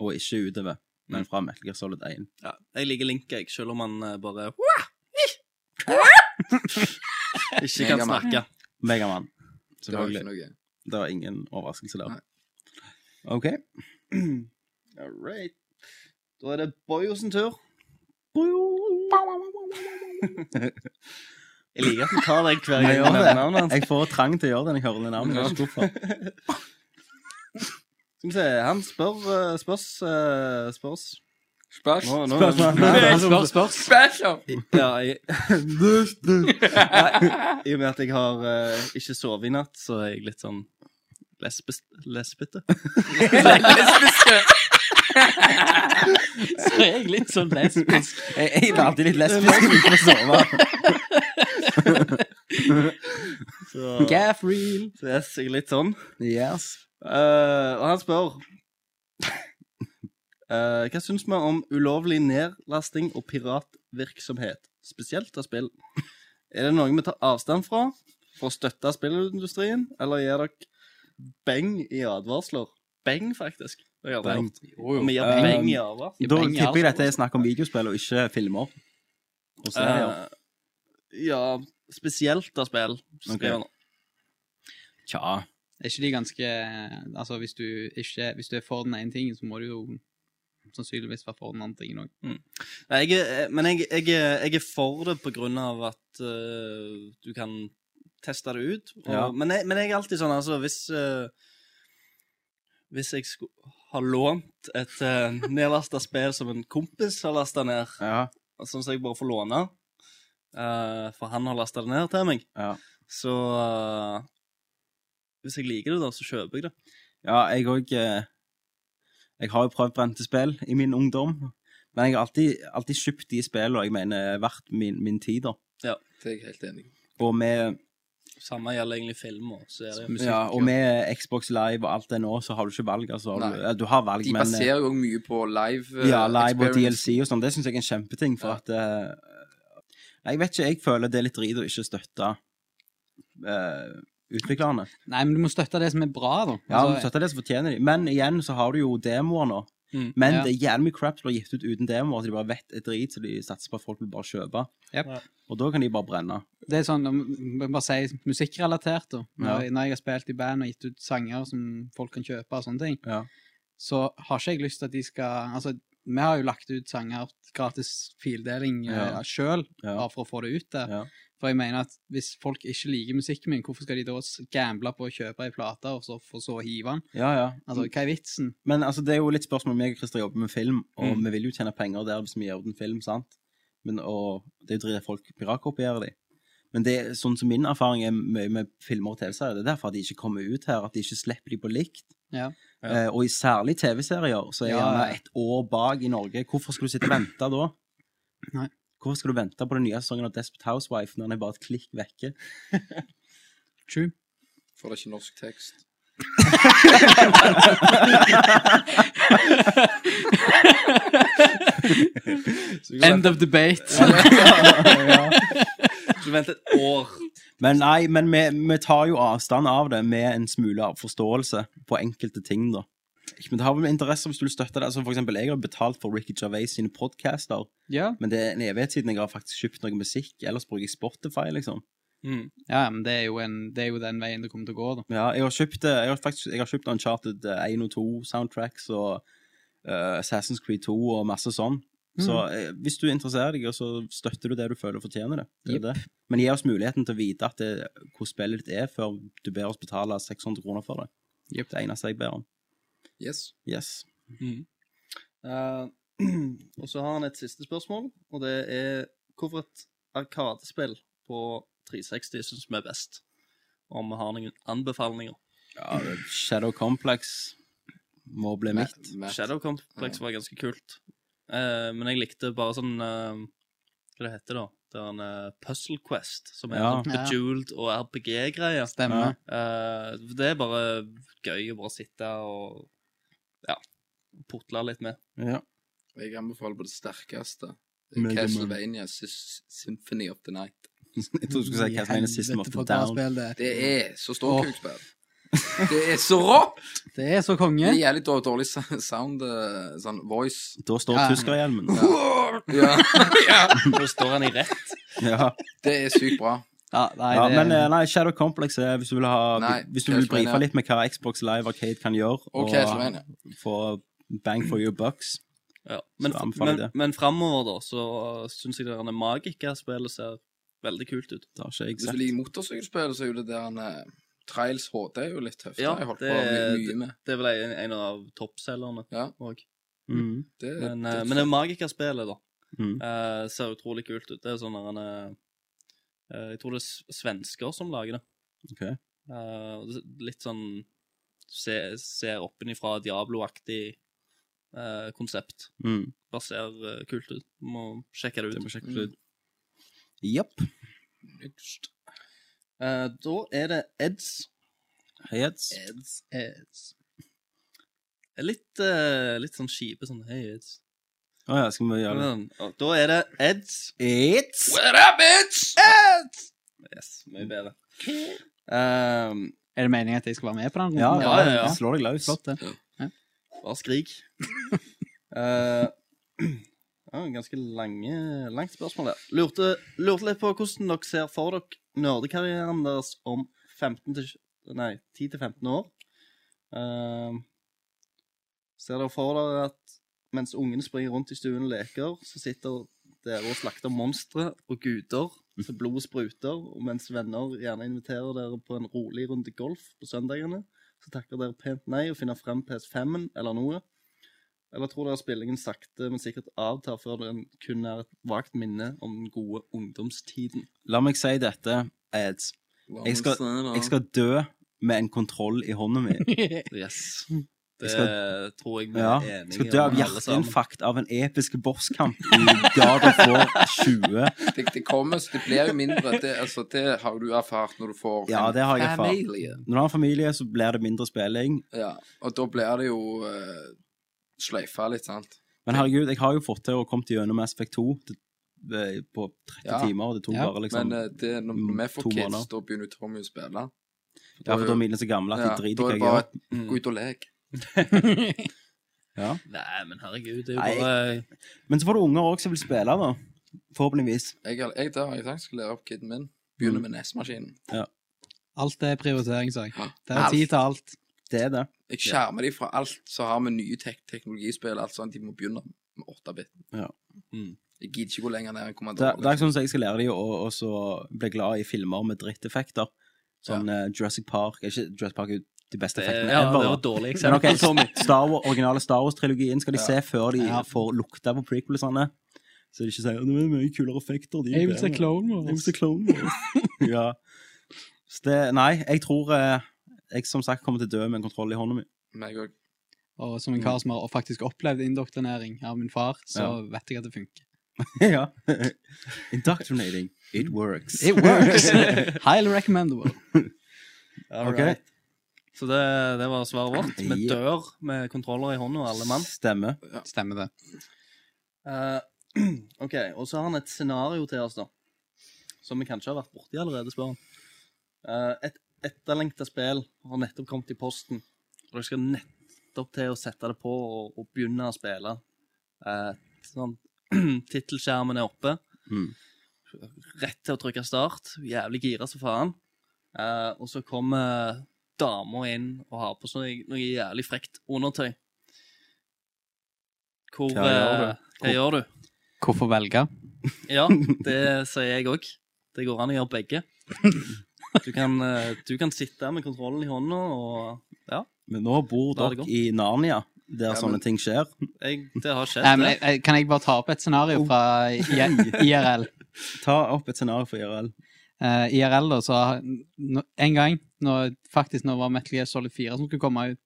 og ikke utover, Mm. men fra Metal Gear Solid 1. Ja, jeg liker Link, jeg, selv om han eh, bare Ikke kan Megaman. snakke. Megamann. Det var jo ikke Selvfølgelig. noe. Det var ingen overraskelse der. Nei. OK. All right. Da er det Boyo sin tur. Jeg liker at du tar den hver gang Jeg, jeg nevner navnet det. hans. jeg får trang til å gjøre det når jeg hører det navnet. Jeg vet ikke hvorfor. Skal vi se, han spør eh, Spørs. eh, spørs. Spørs. Nå, nå, Spørs, spørs. Special! Ja, jeg, Nei, I og med at jeg har eh, ikke sovet i natt, så er jeg litt sånn lesbis, lesbete. Så er jeg litt sånn lesbisk. Jeg, jeg er alltid litt lesbisk uten å sove. Så, Gaff reel. så yes, jeg er litt sånn. Yes. Eh, og han spør eh, Hva syns vi om ulovlig nedlasting og piratvirksomhet, spesielt av spill? Er det noe vi tar avstand fra for å støtte spillindustrien, eller gir dere beng i advarsler? Beng, faktisk. Det har jeg Beng. aldri hørt. Om vi gir Um, beng i advarsler? Da tipper jeg dette er snakk om videospill og ikke filmer. Og serier. Eh, ja, spesielt av spill. skriver han. Tja. Er ikke de ganske Altså, hvis du, ikke, hvis du er for den ene tingen, så må du jo sannsynligvis være for den andre tingen òg. Nei, jeg, er- eh, men jeg, jeg, er- jeg er for det på grunn av at eh, du kan teste det ut. Og, Ja. men, jeg, men jeg er alltid sånn, altså, hvis eh, Hvis jeg skulle ha lånt et uh, nedlasta spill som en kompis har lasta ned, Ja. sånn som jeg bare får låne, eh, for han har lasta det ned til meg, Ja. så eh, Hvis jeg liker det, da, så kjøper jeg det. Ja, jeg òg eh, Jeg har jo prøvd brente spill i min ungdom. Men jeg har alltid, alltid kjøpt de spillene jeg mener er verdt min, min tid, da. Det er jeg helt enig i. Og med, Samme gjelder egentlig filmer. Så er det Musikk, ja, og med Xbox Live og alt det nå, så har du ikke valg. Altså, Har du, Nei. ja, du har valg, De men eh, baserer jo også mye på live eh, ja, live og experience. DLC og sånn. Det syns jeg er en kjempeting, for Ja. at eh, Nei, Jeg vet ikke, jeg føler det er litt drit å ikke støtte eh, utviklerne. Nei, men du må støtte det som er bra, da. Ja, Altså, om du støtter det, så fortjener de. Men igjen så har du jo demoer nå. Mm. Men Ja. det er jævlig mye crap som blir gitt ut uten demoer, så de bare vet er drit, så de satser på at folk vil bare kjøpe. Jep. Ja. Og da kan de bare brenne. Det er sånn, om- jeg bare si musikkrelatert, da. Når, Ja. når jeg har spilt i band og gitt ut sanger som folk kan kjøpe og sånne ting, Ja. så har ikke jeg lyst til at de skal Altså, vi har jo lagt ut sanger, gratis fildeling Ja. ja. sjøl, Ja. bare for å få det ut der. Ja. For jeg mener at hvis folk ikke liker musikken min, hvorfor skal de da s- gamble på å kjøpe ei plate, og så for så å hive den? Ja, ja. Altså, hva er vitsen? Men altså, det er jo litt spørsmål om jeg og Christer jobber med film, og Mm. vi vil jo tjene penger der hvis vi gjør den film, sant? Men, og det er jo dritt at folk piratkopierer de. Men det, er sånn som min erfaring er mye med filmer og TV-serier, det er derfor at de ikke kommer ut her, at de ikke slipper de på likt. Ja. Eh, og i særlig TV-serier, så er jeg Ja, ja. gjerne et år bak i Norge. Hvorfor skal du sitte og vente da? Nei. Hvorfor skal du vente på den nye sesongen av Desperate Housewife når den er bare et klikk vekke? True. For det er ikke norsk tekst. End of debate. Du venter et år. Men nei, men vi, vi tar jo avstand av det med en smule av forståelse på enkelte ting, da. Ikke, Men det har vel interesse hvis du vil støtte det. Altså, for eksempel, jeg har betalt for Ricky Gervais sine podcaster, Ja. men det er en evighet siden jeg har faktisk kjøpt noe musikk. Ellers bruker jeg Spotify, liksom. ja, men det er, jo en, det er jo den veien det kommer til å gå, da. Ja, jeg har kjøpt, eh, jeg har faktisk, jeg har kjøpt Uncharted eh, 1 og 2 soundtracks og eh, Assassin's Creed 2 og masse sånn. Så Mm. eh, hvis du interesserer deg, og så støtter du det du føler fortjener det. det, er Jepp. det. Men gi oss muligheten til å vite at det, hvor spillet ditt er, før du ber oss betale 600 kroner for det. Jepp. Det eneste jeg ber om. Yes. Yes. Eh, og så har han et siste spørsmål, og det er hvorfor et arkadespill på 360 syns vi er best? Om vi har noen anbefalinger. Ja, Shadow Complex må bli mitt. Matt. Shadow Complex var ganske kult, Eh, men jeg likte bare sånn eh, Hva det heter da? Det er en eh, Puzzle Quest, som er Ja. sånn bejeweled og RPG-greie. Stemmer. Eh, det er bare gøy å bare sitte og ja, putle litt med. Ja. Jeg anbefaler på det sterkeste Mega Man. Castlevania Sys- Symphony of the Night. Jeg tror du skulle si hva som er System of the Helvete, for et bra Down. spill det er. Det er så ståkukspill. Det er så rått! Det er så Det konge. er jævlig dårlig, dårlig sa- sound, eh, sånn voice. Da står Ja. tyskerhjelmen. Ja. ja. Nå står han i rett. Ja. Det er sykt bra. Ja, nei, Ja, det, men eh, nei, Shadow Complex er hvis du vil ha Nei, Hvis du vil Castlevania. brife litt med hva Xbox Live Arcade kan gjøre, Og Castlevania. få bang for your bucks Ja, men, Så anbefaler jeg men, det. men framover, da, så syns jeg det derne Magica-spillet ser veldig kult ut. Det har ikke jeg Hvis du sett. liker motorsykkelspill, så er jo det der eh, Trails HD er jo litt tøft. Ja, jeg holdt det- på mye, mye med. Det er vel en, en av toppselgerne Ja. òg. Mm. Det, Men, det, eh, men det Magica-spillet, da, Mm. eh, ser utrolig kult ut. Det er sånn derne eh, Jeg tror det er s- svensker som lager det. Ok. Eh, og det er litt sånn se, Ser oppenifra Diablo-aktig eh, konsept. Mm. Bare ser eh, kult ut. Må sjekke det ut. Det må sjekkes Mm. ut. Japp. Eh, da er det Eds Heads. Eds. Eds. Litt, eh, litt sånn kjipe sånn Hei, Eds. Å ja, skal vi gjøre det? Men, og Da er det Eds. It's What up, bitch? Eds! Yes, mye bedre. Um, er det meningen at jeg skal være med på den? Ja, runden? ja, ja, ja. Slå deg løs. Flott, det. bare skrik. Eh, ja, ganske lange, langt spørsmål der. Lurte, lurte litt på hvordan dere ser for dere nerdekarrieren deres om 15 til, nei, 10-15 år. Eh, ser dere for dere at mens ungene springer rundt i stuen og leker, så sitter dere og slakter monstre og guder så blodet spruter, og mens venner gjerne inviterer dere på en rolig runde golf på søndagene, så takker dere pent nei og finner frem PS5-en eller noe. Eller tror dere spillingen sakte, men sikkert avtar før den kun er et vagt minne om den gode ungdomstiden? La meg si dette, Eds. Jeg skal- Jeg skal dø med en kontroll i hånda mi. Yes. Jeg Det skal- tror jeg vi Ja. er enige Skal dø av om alle sammen. hjerteinfarkt av en episk bosskamp i God of War 20. det, det kommer, så det blir jo mindre. Det, altså, det har jo du erfart når du får Ja, det har jeg erfart. familie. Når du har en familie, så blir det mindre spilling. Ja, og da blir det jo uh, sløyfa litt, sant? Men herregud, jeg har jo fått til å komme til gjennom Aspect 2 til, eh, på 30 Ja. timer, og det tok Ja. bare liksom Men eh, det, når mm, vi får to kids, måneder. da begynner jo Tommy å spille. Ja, for da er mine så gamle at de Ja, driter da i hva er det jeg bare gjør. et- gå ut og lek. Ja. Nei, men herregud, det er jo Nei, bare Men så får du unger òg som vil spille, da. Forhåpentligvis. Jeg, har- jeg, der har jeg tenkt jeg skal lære opp kiden min. Begynne Mm. med nesmaskinen. Alt er prioriteringssak. Ja. Det er tid til alt. Det er det. Jeg skjermer dem fra alt som har med nye tek teknologispill alt sånn. De må begynne med 8-bit. Ja. Mm. Jeg gidder ikke gå lenger ned enn Det, det er kommandør. ikke sånn at jeg skal lære dem å å så bli glad i filmer med dritteffekter. Sånn eh, Jurassic Park er ikke Jurassic Park er jo de beste det, effektene Eh, ja, det ever. var da. et dårlig Men eksempel. ok, Star Wars, originale Star Wars-trilogien skal de se før de Ja. får lukte på prequelsene. Så de ikke sier det er mye kulere effekter. De er Jeg vil se bedre." Clone Jeg Wars. vil se Clone Wars. ja. Så det, nei, jeg tror eh, jeg som sagt kommer til å dø med en kontroll i hånda mi. Meg òg. Og som en kar som har faktisk opplevd indoktrinering av min far, så vet jeg at det funker. ja. Indoctrinating. It works. It works! Highly recommendable. All Ok. right. Så det, det var svaret vårt. Vi Ja. dør med kontroller i hånda, alle mann. Stemmer. Stemmer det. Eh, OK, og så har han et scenario til oss, da. Som vi kanskje har vært borti allerede, spør han. Eh, et etterlengta spill har nettopp kommet i posten, og dere skal nett nettopp til å sette det på og, og begynne å spille. Eh, sånn, Tittelskjermen er oppe. Mm. Rett til å trykke start. Jævlig gira som faen. Eh, og så kommer dama inn og har på seg noe jævlig frekt undertøy. Hvor, Hva gjør eh, Hva gjør du? Hvorfor velge? Ja, det sier jeg òg. Det går an å gjøre begge. Du kan, eh, du kan sitte med kontrollen i hånda og Ja, Men nå bor Da er det dere godt. i Narnia, der Ja, sånne men- ting skjer. jeg, det har skjedd. Nei, men det. jeg, jeg, kan jeg bare ta opp et scenario fra I- Oh, IRL? Ta opp et scenario for IRL. Eh, IRL, da, så har- nå- en gang, når, faktisk når det var Metal Gear Solid 4 som skulle komme ut,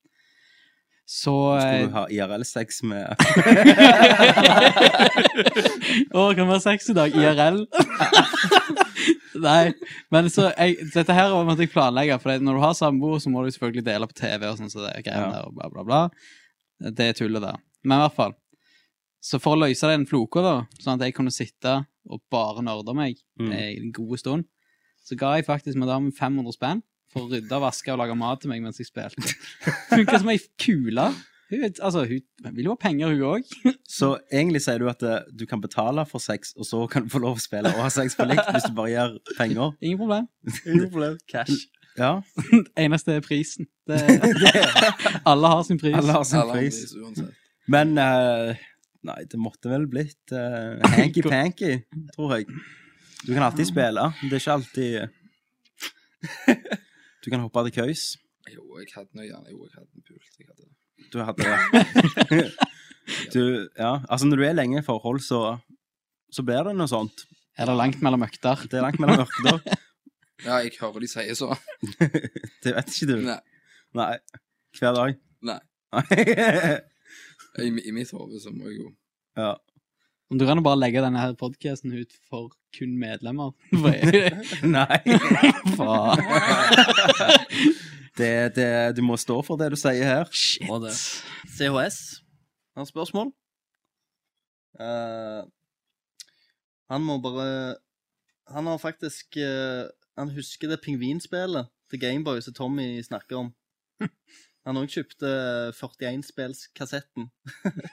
så eh, Skulle du ha IRL-sex med Å, kan det være sex i dag? IRL? Nei, men så jeg, Dette her måtte jeg planlegge, for når du har samboer, så må du selvfølgelig dele på TV og sånn, så det er greiene Ja. der, og bla, bla, bla. Det er tullet der. Men i hvert fall. Så for å løse den floka, da, sånn at jeg kunne sitte og bare nerde meg Mm. eh, en god stund, så ga jeg faktisk madammen 500 spenn for å rydde, vaske og lage mat til meg mens jeg spilte. Funka som ei kule. Hun, vet- altså, hun vil jo ha penger, hun òg. Så egentlig sier du at eh, du kan betale for sex, og så kan du få lov å spille og ha sex på likt hvis du bare gir penger. Ingen problem. Cash. Ja, eneste er prisen. Det, alle har sin pris. alle har sin Alle pris. andre, uansett. Men eh, Nei, det måtte vel blitt eh, hanky-panky, tror jeg. Du kan alltid spille. men Det er ikke alltid eh, Du kan hoppe til køys. Jo, jeg hadde noe gjerne. Jo, jeg hadde en pult. Jeg hadde det. Du hadde det. Du, ja. Altså, når du er lenge i forhold, så, så blir det noe sånt. Er det langt mellom økter? Det er langt mellom ørkener. Ja, jeg hører de sier så. Det vet ikke du. Nei. Nei. Hver dag. Nei. Nei. I, i mitt hode så må jeg jo ja. Om du kan jo bare legge denne her podcasten ut for kun medlemmer. For- Nei. Faen. Det, det, du må stå for det du sier her. Og det. CHS har et spørsmål. Eh, han må bare Han har faktisk eh, Han husker det pingvinspillet til Gameboy som Tommy snakker om. Han òg kjøpte eh, 41-spillskassetten.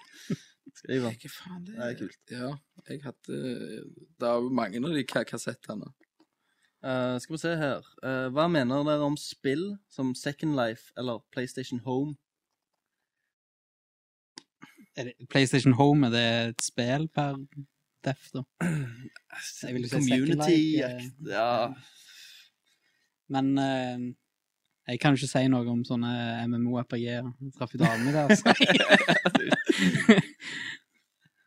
Skriver han. Hva faen, det Det er kult. Ja, jeg hadde eh, Det er jo mange av de ka- kassettene. Eh, skal vi se her Eh, Hva mener dere om spill som Second Life eller PlayStation Home? Er det- PlayStation Home, er det et spill per def, da? Jeg vil jo si Second Life, Community eh, Ja. Men eh, jeg kan jo ikke si noe om sånne MMO-RPG-er. Traff jo damen i det, altså.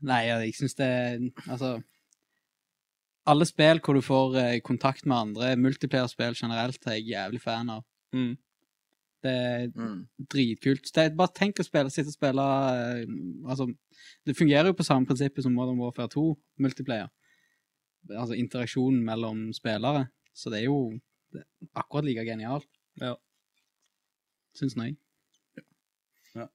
Nei, ja, jeg syns det Altså Alle spill hvor du får eh, kontakt med andre, multiplayer-spill generelt, er jeg jævlig fan av. Mm. Det er Mm. dritkult. Det er bare tenk å spille, sitte og spille eh, Altså, det fungerer jo på samme prinsippet som Modern Warfare 2, multiplayer. Altså interaksjonen mellom spillere. Så det er jo det, er akkurat like genialt. Ja. Syns nå jeg. Eh, Ja.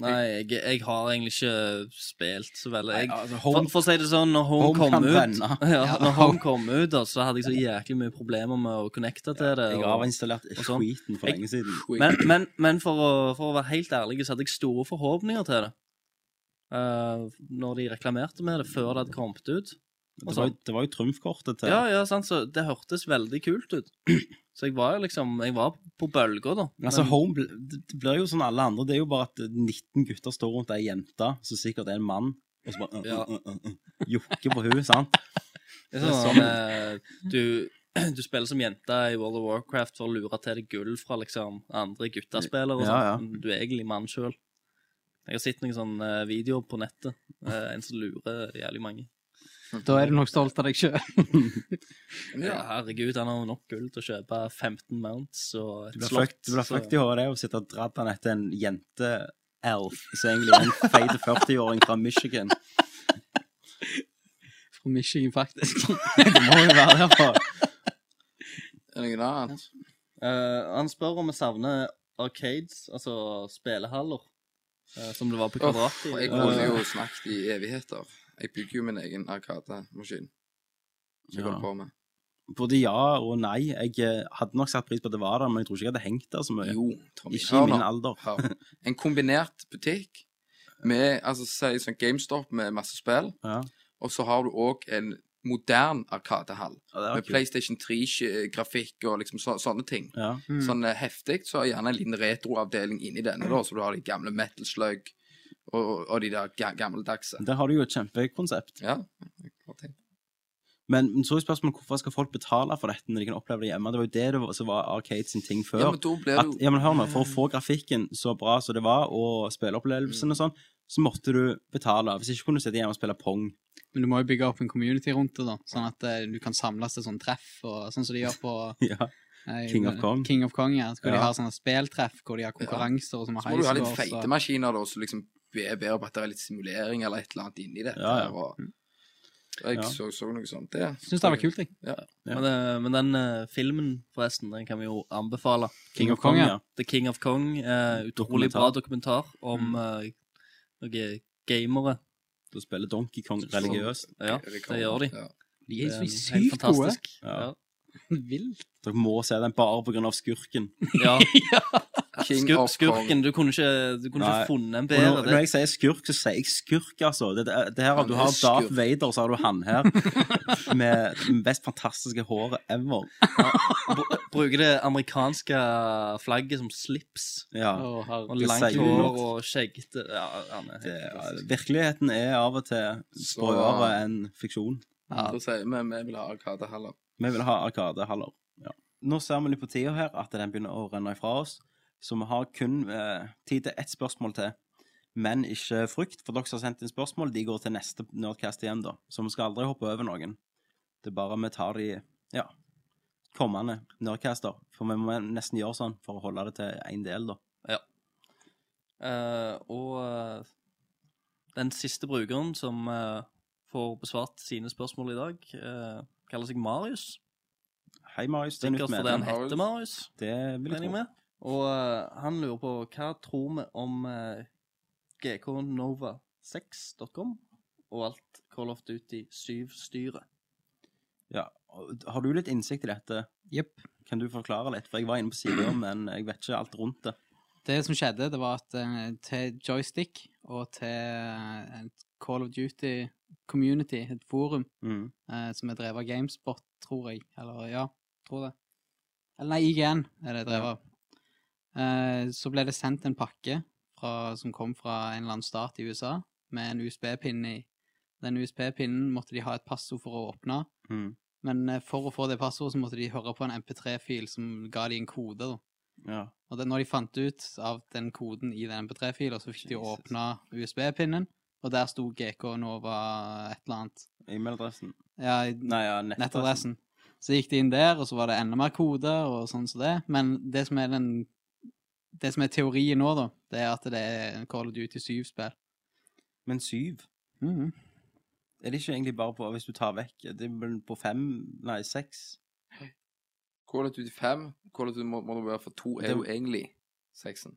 Nei, jeg, jeg har egentlig ikke spilt så veldig. Jeg, altså, for, for å si det sånn, når Home, Home kom kan ut, brenne. ja, Ja. når home kom ut da, så hadde jeg så jæklig mye problemer med å connecte til det. Jeg og- avinstallerte og sånn. skiten for Jeg- lenge siden. Men, men, men for, å, for å være helt ærlig, så hadde jeg store forhåpninger til det. Eh, når de reklamerte med det før det hadde kommet ut. Det var, jo- det var jo trumfkortet til sånn. Ja, ja, sant, så Det hørtes veldig kult ut. Så jeg var jo liksom Jeg var på bølger, da. Men Altså, Men- Home bl- det det blir jo sånn alle andre. Det er jo bare at 19 gutter står rundt ei jente som sikkert er en mann, og så bare Ja. uh, uh, uh, uh, jokker på henne, sant? Det er sånn, eh, du, du spiller som jente i World of Warcraft for å lure til deg gull fra liksom andre guttespillere. Og Ja, ja. sånt, men Du er egentlig mann sjøl. Jeg har sett noen sånne eh, videoer på nettet. eh, en som lurer jævlig mange. Da er du nok stolt av deg sjøl. Ja. Ja. Herregud, han har jo nok gull til å kjøpe 15 mounts Du og et blir slott. fucked- du blir så- fucked i hodet av å sitte og dra på den etter en jente-elf som egentlig er en feit 40-åring fra Michigan. Fra Michigan, faktisk. Det må jo være derfor. Er det noe annet? Eh, han spør om vi savner arcades, altså spillehaller, eh, som det var på Kvadrat. Uff, eh, jeg kunne jo snakket i evigheter. Jeg bygger jo min egen arkademaskin. Som jeg Ja. holder på med. Både ja og nei. Jeg eh, hadde nok satt pris på at det var der, men jeg tror ikke jeg hadde hengt der så mye. Jo, Tommy, ikke hør i min nå. alder. Hør. En kombinert butikk med altså, si, sånn GameStop med masse spill, Ja. og så har du òg en moderne arkadehall Ja, det var med kult. PlayStation 3-grafikk og liksom så, sånne ting. Ja. Sånn eh, heftig, så har gjerne en liten retroavdeling inni denne, da, så du har de gamle Metal Slug og, og, og de der ga gammeldagse. Der har du jo et kjempekonsept. Ja. Hva tenker du? Men men så er spørsmålet hvorfor skal folk betale for dette når de kan oppleve det hjemme? Det var jo det det var, som var Arcade sin ting før. Ja, men da blir at, det jo ja, men hør nå, For å få grafikken så bra som det var, og spilleopplevelsen og Mm. sånn, så måtte du betale. Hvis ikke kunne du sitte hjemme og spille pong. Men du må jo bygge opp en community rundt det, da, sånn at eh, du kan samles til sånn treff, og sånn som de gjør på Ja. eh, King of Kong. King of Kong, ja. Hvor Ja. de har sånne speltreff, hvor de har konkurranser og som har Så må du ha litt high scores, feite og- maskiner, da, som liksom er bedre på at det er litt simulering eller et eller annet inni dette. Ja, ja. her, Og, jeg Ja. så, så noe sånt. Det Syns det var kult, jeg. Ja. Men, eh, men den eh, filmen, forresten, den kan vi jo anbefale. King of Kong, ja. The King of Kong. eh, utrolig Dokumentar. Mm. bra dokumentar om eh, noen gamere. Du spiller Donkey Kong religiøst. Ja, det gjør de. Ja. De er Det så er helt sykt gode. fantastisk. Ja. Vilt. Dere må se den bare pga. skurken. Ja. King Skur, of skurken, Kong. du kunne ikke, du kunne Nei. ikke funnet en Og når, bedre. når jeg sier skurk, så sier jeg skurk, altså. Det, det, det her, Han Du er har skurk. Darth Vader, så har du han her. Med det mest fantastiske håret ever. Bru- Bruker det amerikanske flagget som slips. Ja. Å, herre. Og Det langt sier hår litt. og skjeggete. Ja, han er Det, helt ja, fantastisk. virkeligheten er av og til Så- sprøere enn fiksjon. Ja. Da sier vi vi vil ha Arkadehaller. Vi vil ha Arkadehaller. Ja. Nå ser vi litt på tida her at den begynner å renne ifra oss, så vi har kun eh, tid til ett spørsmål til. Men ikke frykt, for dere som har sendt inn spørsmål, de går til neste Nerdcast igjen, da. Så vi skal aldri hoppe over noen. Det er bare vi tar de ja, kommende Nerdcaster. For vi må nesten gjøre sånn for å holde det til én del, da. Eh, og eh, den siste brukeren som eh, får besvart sine spørsmål i dag, eh, kaller seg Marius. Hei, Marius. Det er Sikkert nytt fordi han medlem. heter Marius, Det vil jeg regner jeg tro. med. Og eh, han lurer på hva tror vi om eh, gknova6.com og alt Call of Duty 7-styret. Ja. og Har du litt innsikt i dette? Jepp. Kan du forklare litt? For jeg var inne på sida, men jeg vet ikke alt rundt det. Det som skjedde, det var at eh, til joystick og til eh, et Call of Duty community, et forum, Mm. eh, som er drevet av Gamespot, tror jeg. Eller ja, tror det. Eller nei, IGN er det drevet av. Eh, så ble det sendt en pakke fra, som kom fra en eller annen stat i USA, med en USB-pinne i. Den USB-pinnen måtte de ha et passord for å åpne, Mm. men eh, for å få det passordet så måtte de høre på en MP3-fil som ga de en kode, da. Ja. Og det, når de fant ut av den koden i den MP3-fila, så fikk de Jesus. åpna USB-pinnen, og der sto GK Nova et eller annet. E-mailadressen. Ja, i- Nei, ja, nettadressen. nettadressen. Så gikk de inn der, og så var det enda mer koder og sånn som det. Men det som er den det som er teorien nå, da, det er at det er en Call of Duty Mhm. 7-spill. Men syv? Er det ikke egentlig bare på Hvis du tar vekk Det er vel på fem Nei, seks? Call of Duty 5, Call of Duty Modern Warfare for 2 er jo egentlig seksen.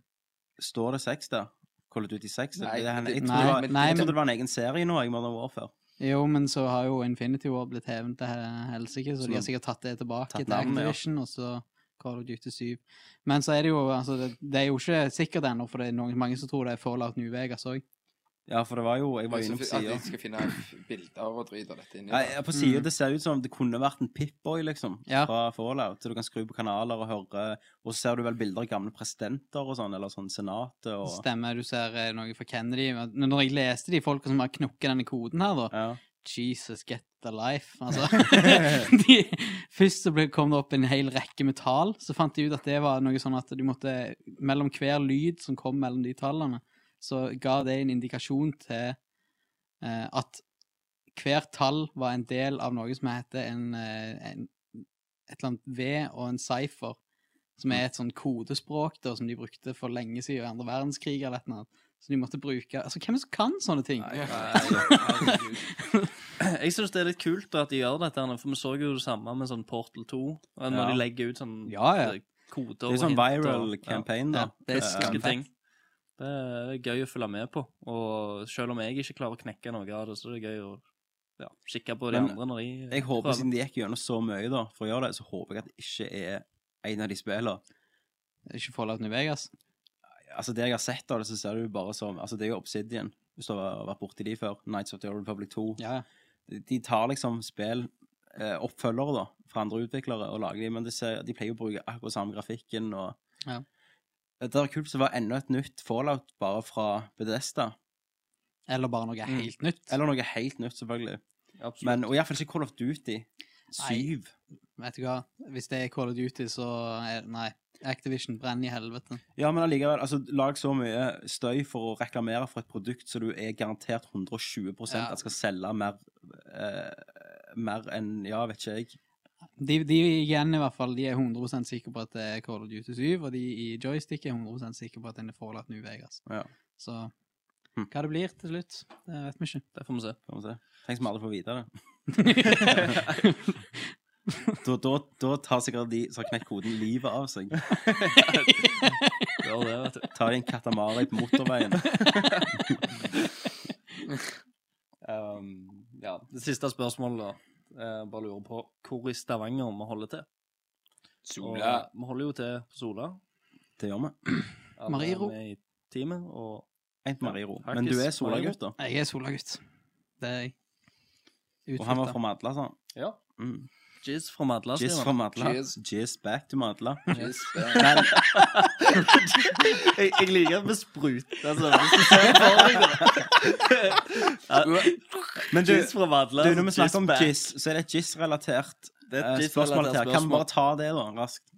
Står det seks der? Call of Duty 6? Nei, det, jeg, det- trodde det nei, var, nei, jeg men- trodde det var en egen serie nå, jeg, Modern Warfare. Jo, men så har jo Infinity War blitt hevet til he- helsike, så Så de har de- sikkert tatt det tilbake tatt til navnet, ja. Activision, og så Call of Duty 7. Men så er det jo altså, det, det er jo ikke sikkert ennå, for det er noen, mange som tror det er Fallout New Vegas òg. Ja, for det var jo Jeg var Altså, inne på At sida. de skal finne bilder og drit av dette inni Nei, der. ja, på sida Mm. Det ser ut som det kunne vært en Pip-boy, liksom, Ja. fra Fallout. Så du kan skru på kanaler og høre Og så ser du vel bilder av gamle presidenter og sånn, eller sånn senatet og Stemmer, du ser eh, noe fra Kennedy. Men når jeg leste de folka som har knukket denne koden her, da ja. Jesus, get the life. Altså, de, først så ble, kom det opp en hel rekke med tall. Så fant de ut at det var noe sånn at du måtte Mellom hver lyd som kom mellom de tallene, så ga det en indikasjon til eh, at hvert tall var en del av noe som heter en, eh, en Et eller annet V og en cipher, som er et sånn kodespråk da, som de brukte for lenge siden i andre verdenskrig eller et eller annet. Så de måtte bruke Altså, hvem er det som kan sånne ting? Nei, herregud. Jeg syns det er litt kult at de gjør dette, her nå, for vi så jo det samme med sånn Portal 2. eh, Når Ja. de legger ut sånn Ja, ja. eh, koder Det er jo sånn og hint og- viral campaign, da. Ja, det er Eh, skakket ting. Det er gøy å følge med på. Og selv om jeg ikke klarer å knekke noe av det, så er det gøy å ja, kikke på de Men andre når de Jeg håper, siden de gikk gjennom så mye da, for å gjøre det, så håper jeg at det ikke er en av de spillene. Ikke Fallout New Vegas? Altså, det jeg har sett av det, så ser det jo bare som Altså, det er jo Obsidian, hvis du har vært borti de før. Nights of the Old Republic 2. Ja, De- De tar liksom spill, eh, oppfølgere da, fra andre utviklere og lager de, men det ser, de pleier jo å bruke akkurat samme grafikken og Ja. Det er kult, så var det enda et nytt Fallout bare fra Bedesta. Eller bare noe Mm. helt nytt. Eller noe helt nytt, selvfølgelig. Absolutt. Men, og iallfall ikke Call of Duty. Syv. Vet du hva, hvis det er Call of Duty, så er Nei. Activision brenner i helvete. Ja, men allikevel, altså, lag så mye støy for å reklamere for et produkt så du er garantert 120 Ja. at skal selge mer eh, Mer enn Ja, vet ikke jeg. De, de igjen i hvert fall, de er 100 sikre på at det er Call of Duty 7, og de i joystick er 100 sikre på at den er forlatt New Vegas. Ja. Så Hm. hva det blir til slutt, det vet vi ikke. Det får vi se. Får vi se. Tenk som vi aldri får vite det. Da, da, da tar sikkert de som har knekt koden, livet av seg. Gjør det, vet du. Tar de en katamari på motorveien. Um, ja, det siste spørsmålet, da. Jeg bare lurer på hvor i Stavanger vi holder til. Og vi holder jo til på Sola. Det gjør vi. Alle Mariro. er med i teamet, og En på Mariro. Men du er solagutt, da. Jeg er solagutt. Det er jeg. Og han var Utflytta. fra Madla, sa han. Ja. Mm. Jizz fra Madla. Jizz Stian. fra Madla. Jizz. Jizz back to Madla. Yes, Men Jeg, jeg liker at vi spruter altså, hvis du ser for deg det. Men du- Jizz fra Madla. Du, når vi altså, snakker om back. jizz, så er det et jizz-relatert Det er eh, et spørsmål til jizz-relatert her. Kan vi bare ta det, da, raskt?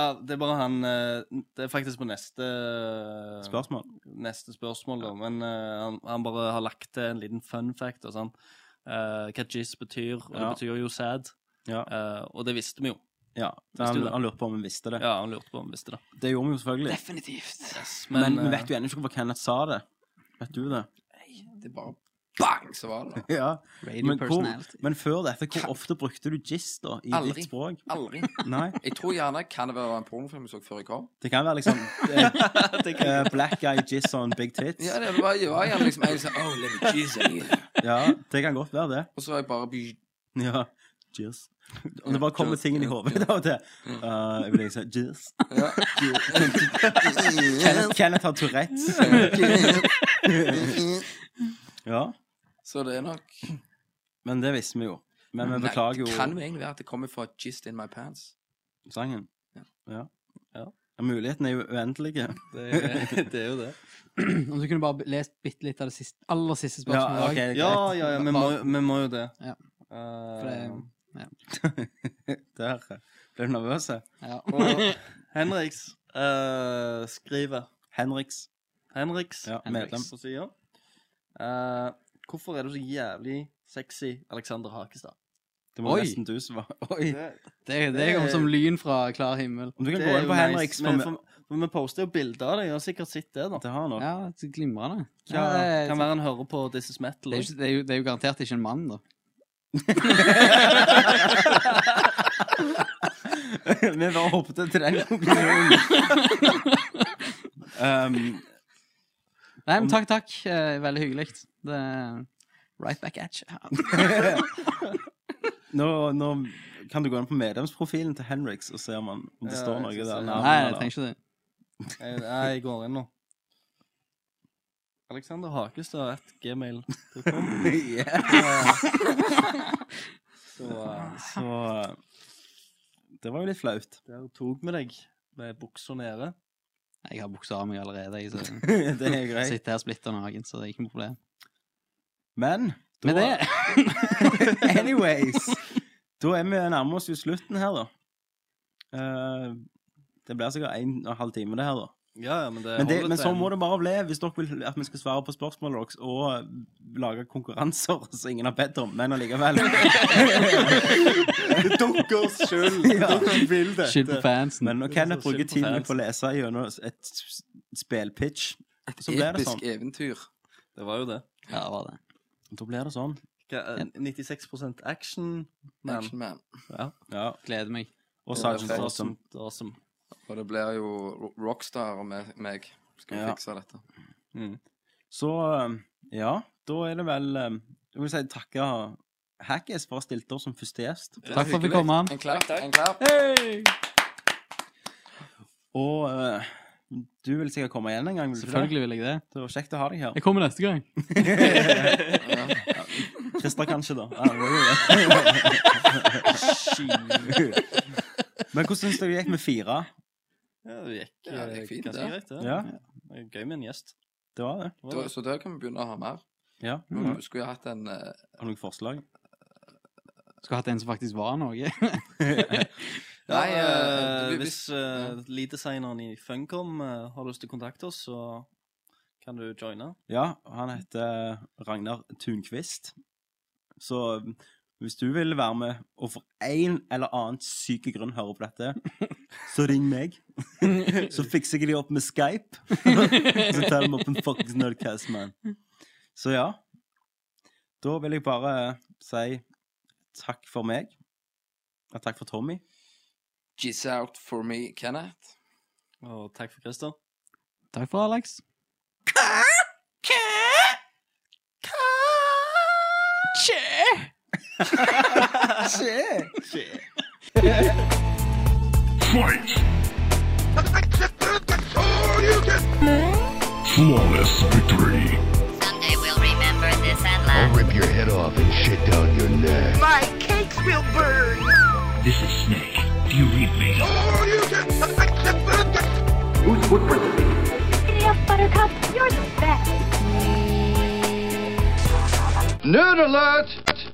Ja, det er bare han eh, Det er faktisk på neste eh, Spørsmål? neste spørsmål, da. Men eh, han, han bare har lagt til en liten fun fact. Og sånn. Eh, hva jizz betyr. Og det Ja. betyr jo sad. Ja. Eh, og det visste vi jo. ja. Visste Han, du det? han lurte på om vi visste det. Ja, han lurte på om vi visste det. Det gjorde vi jo selvfølgelig. Definitivt. Men, vi eh, vet jo ennå ikke hvorfor Kenneth sa det. Vet du det? det er bare bang, så var det. Ja. Radio Men, hvor, personality. men før dette, hvor ofte brukte du jizz da, i Aldri. ditt språk? Aldri. Nei, Jeg tror gjerne kan det være en pornofilm jeg så før jeg kom. det kan være liksom eh, eh, Black guy jizz on big tits. Ja, det var, det var gjerne liksom jeg sa, oh, let me jizz on you. Ja, det kan godt være det. Og så var jeg bare by- Ja, jizz. Og det bare kommer Jizz, ting i jizz, hodet ditt av og til. Eh, Jeg vil ikke si jizz. ja. Kenneth, Kenneth har Tourettes. Ja, Så det er nok men det visste vi jo. Men vi Nei, beklager jo Det kan jo egentlig være at det kommer fra Jizz in my pants. sangen. Ja. Ja. Ja. Ja, Mulighetene er jo uendelige. det, det er jo det. Om du kunne bare lest bitte litt av det siste, aller siste Ja, spørsmålet. ok, det er Ja, greit. ja, ja, vi må, vi må jo det. Ja. Eh, For det- Der eh, ble du nervøs. jeg. Ja. og Henriks eh, skriver Henriks. Henriks Ja, Henriks. medlem. på sida. Eh, hvorfor er du så jævlig sexy, Alexander Hakestad? Det var Oi. nesten du som var Oi. Det, det kom som lyn fra klar himmel. Eh, Om du kan Det gå er inn jo på nice, Henriks men for- for, for vi poster jo bilder av deg. Jeg har sikkert sett det, da. Det har han nok. Ja, så glimrende. Ja, Ja, det, kan være han hører på This Is det, Metal. er jo ikke- det, er jo, det er jo garantert ikke en mann, da. Vi bare hoppet til den konklusjonen. um, Nei, men takk, takk. Eh, Veldig hyggelig. Det er Right back at you. nå, nå kan du gå inn på medlemsprofilen til Henriks og se om, han, om det Ja, står jeg noe skal der. se. nærmere, Nei, jeg eller- trenger ikke det. Jeg, nei, jeg går inn nå. Alexander Hakestad at gmail. Så eh, Så det var jo litt flaut. der tok vi deg med buksa nede. Jeg har buksa av meg allerede. Jeg så- det er greit. sitter her splitter naken, så det er ikke noe problem. Men Men det anyways Da er vi nærmer oss jo slutten her, da. Eh, det blir sikkert en og en halv time, det her, da. Ja, ja, men det Men, det, holder men til sånn en- må det bare bli hvis dere vil at vi skal svare på spørsmålet deres og eh, lage konkurranser som ingen har bedt om, men allikevel. Dunk oss sjøl! Ja. vil Skyld på fansen. Men når Kenneth så synd bruker på tiden fans. på å lese gjennom et s- spillpitch, så blir det Episk sånn. eventyr. Det var jo det. Ja, det var det. Da blir det sånn. Hva, eh, 96 action. Men- Action Man. Ja. Gleder meg. Og Det Sergeant var fett. Awesome. Awesome. Og det blir jo ro- rockstar med meg. Skal vi Ja. fikse dette. um, Så eh, ja, da er det vel eh, Jeg vil si takke Hackis for å ha stilt opp som første gjest. Takk for at vi kom. Mann. En klapp. En klapp. Og eh, du vil sikkert komme igjen en gang? Vil du ikke det? Selvfølgelig vil jeg det. Det var kjekt å ha deg her. Jeg kommer neste gang. Christer kanskje, da. Ja, det var jo det. Men hvordan syns du det gikk med fire? Ja, det gikk Ja, det eh, gikk fint, ganske det. greit, det. Ja. Det er Gøy med en gjest. Det var det. Da, så da kan vi begynne å ha mer. Ja. Nå Skulle jeg hatt en eh, Har du noen forslag? Skulle hatt en som faktisk var noe. Ja, Nei, eh, eh, vi- hvis eh, leaddesigneren i Funcom eh, har lyst til å kontakte oss, så kan du joine. Ja, han heter Ragnar Tunquist. Så um, hvis du vil være med og for en eller annen syk grunn høre på dette, så ring meg. Så fikser jeg de opp med Skype. Så tar de opp en fuckings Nerdcast, man. Så ja. Da vil jeg bare si takk for meg. Ja, takk for Tommy. Jizz out for me, Kenneth. Og takk for Christer. Takk for Alex. Fight! you get Flawless victory! Someday we'll remember this and laugh. I'll rip your head off and shit down your neck. My cakes will burn. This is Snake. Do you read me? Oh, you get Whose footprint is it? Giddy up, Buttercup, you're the best. Nerd alert!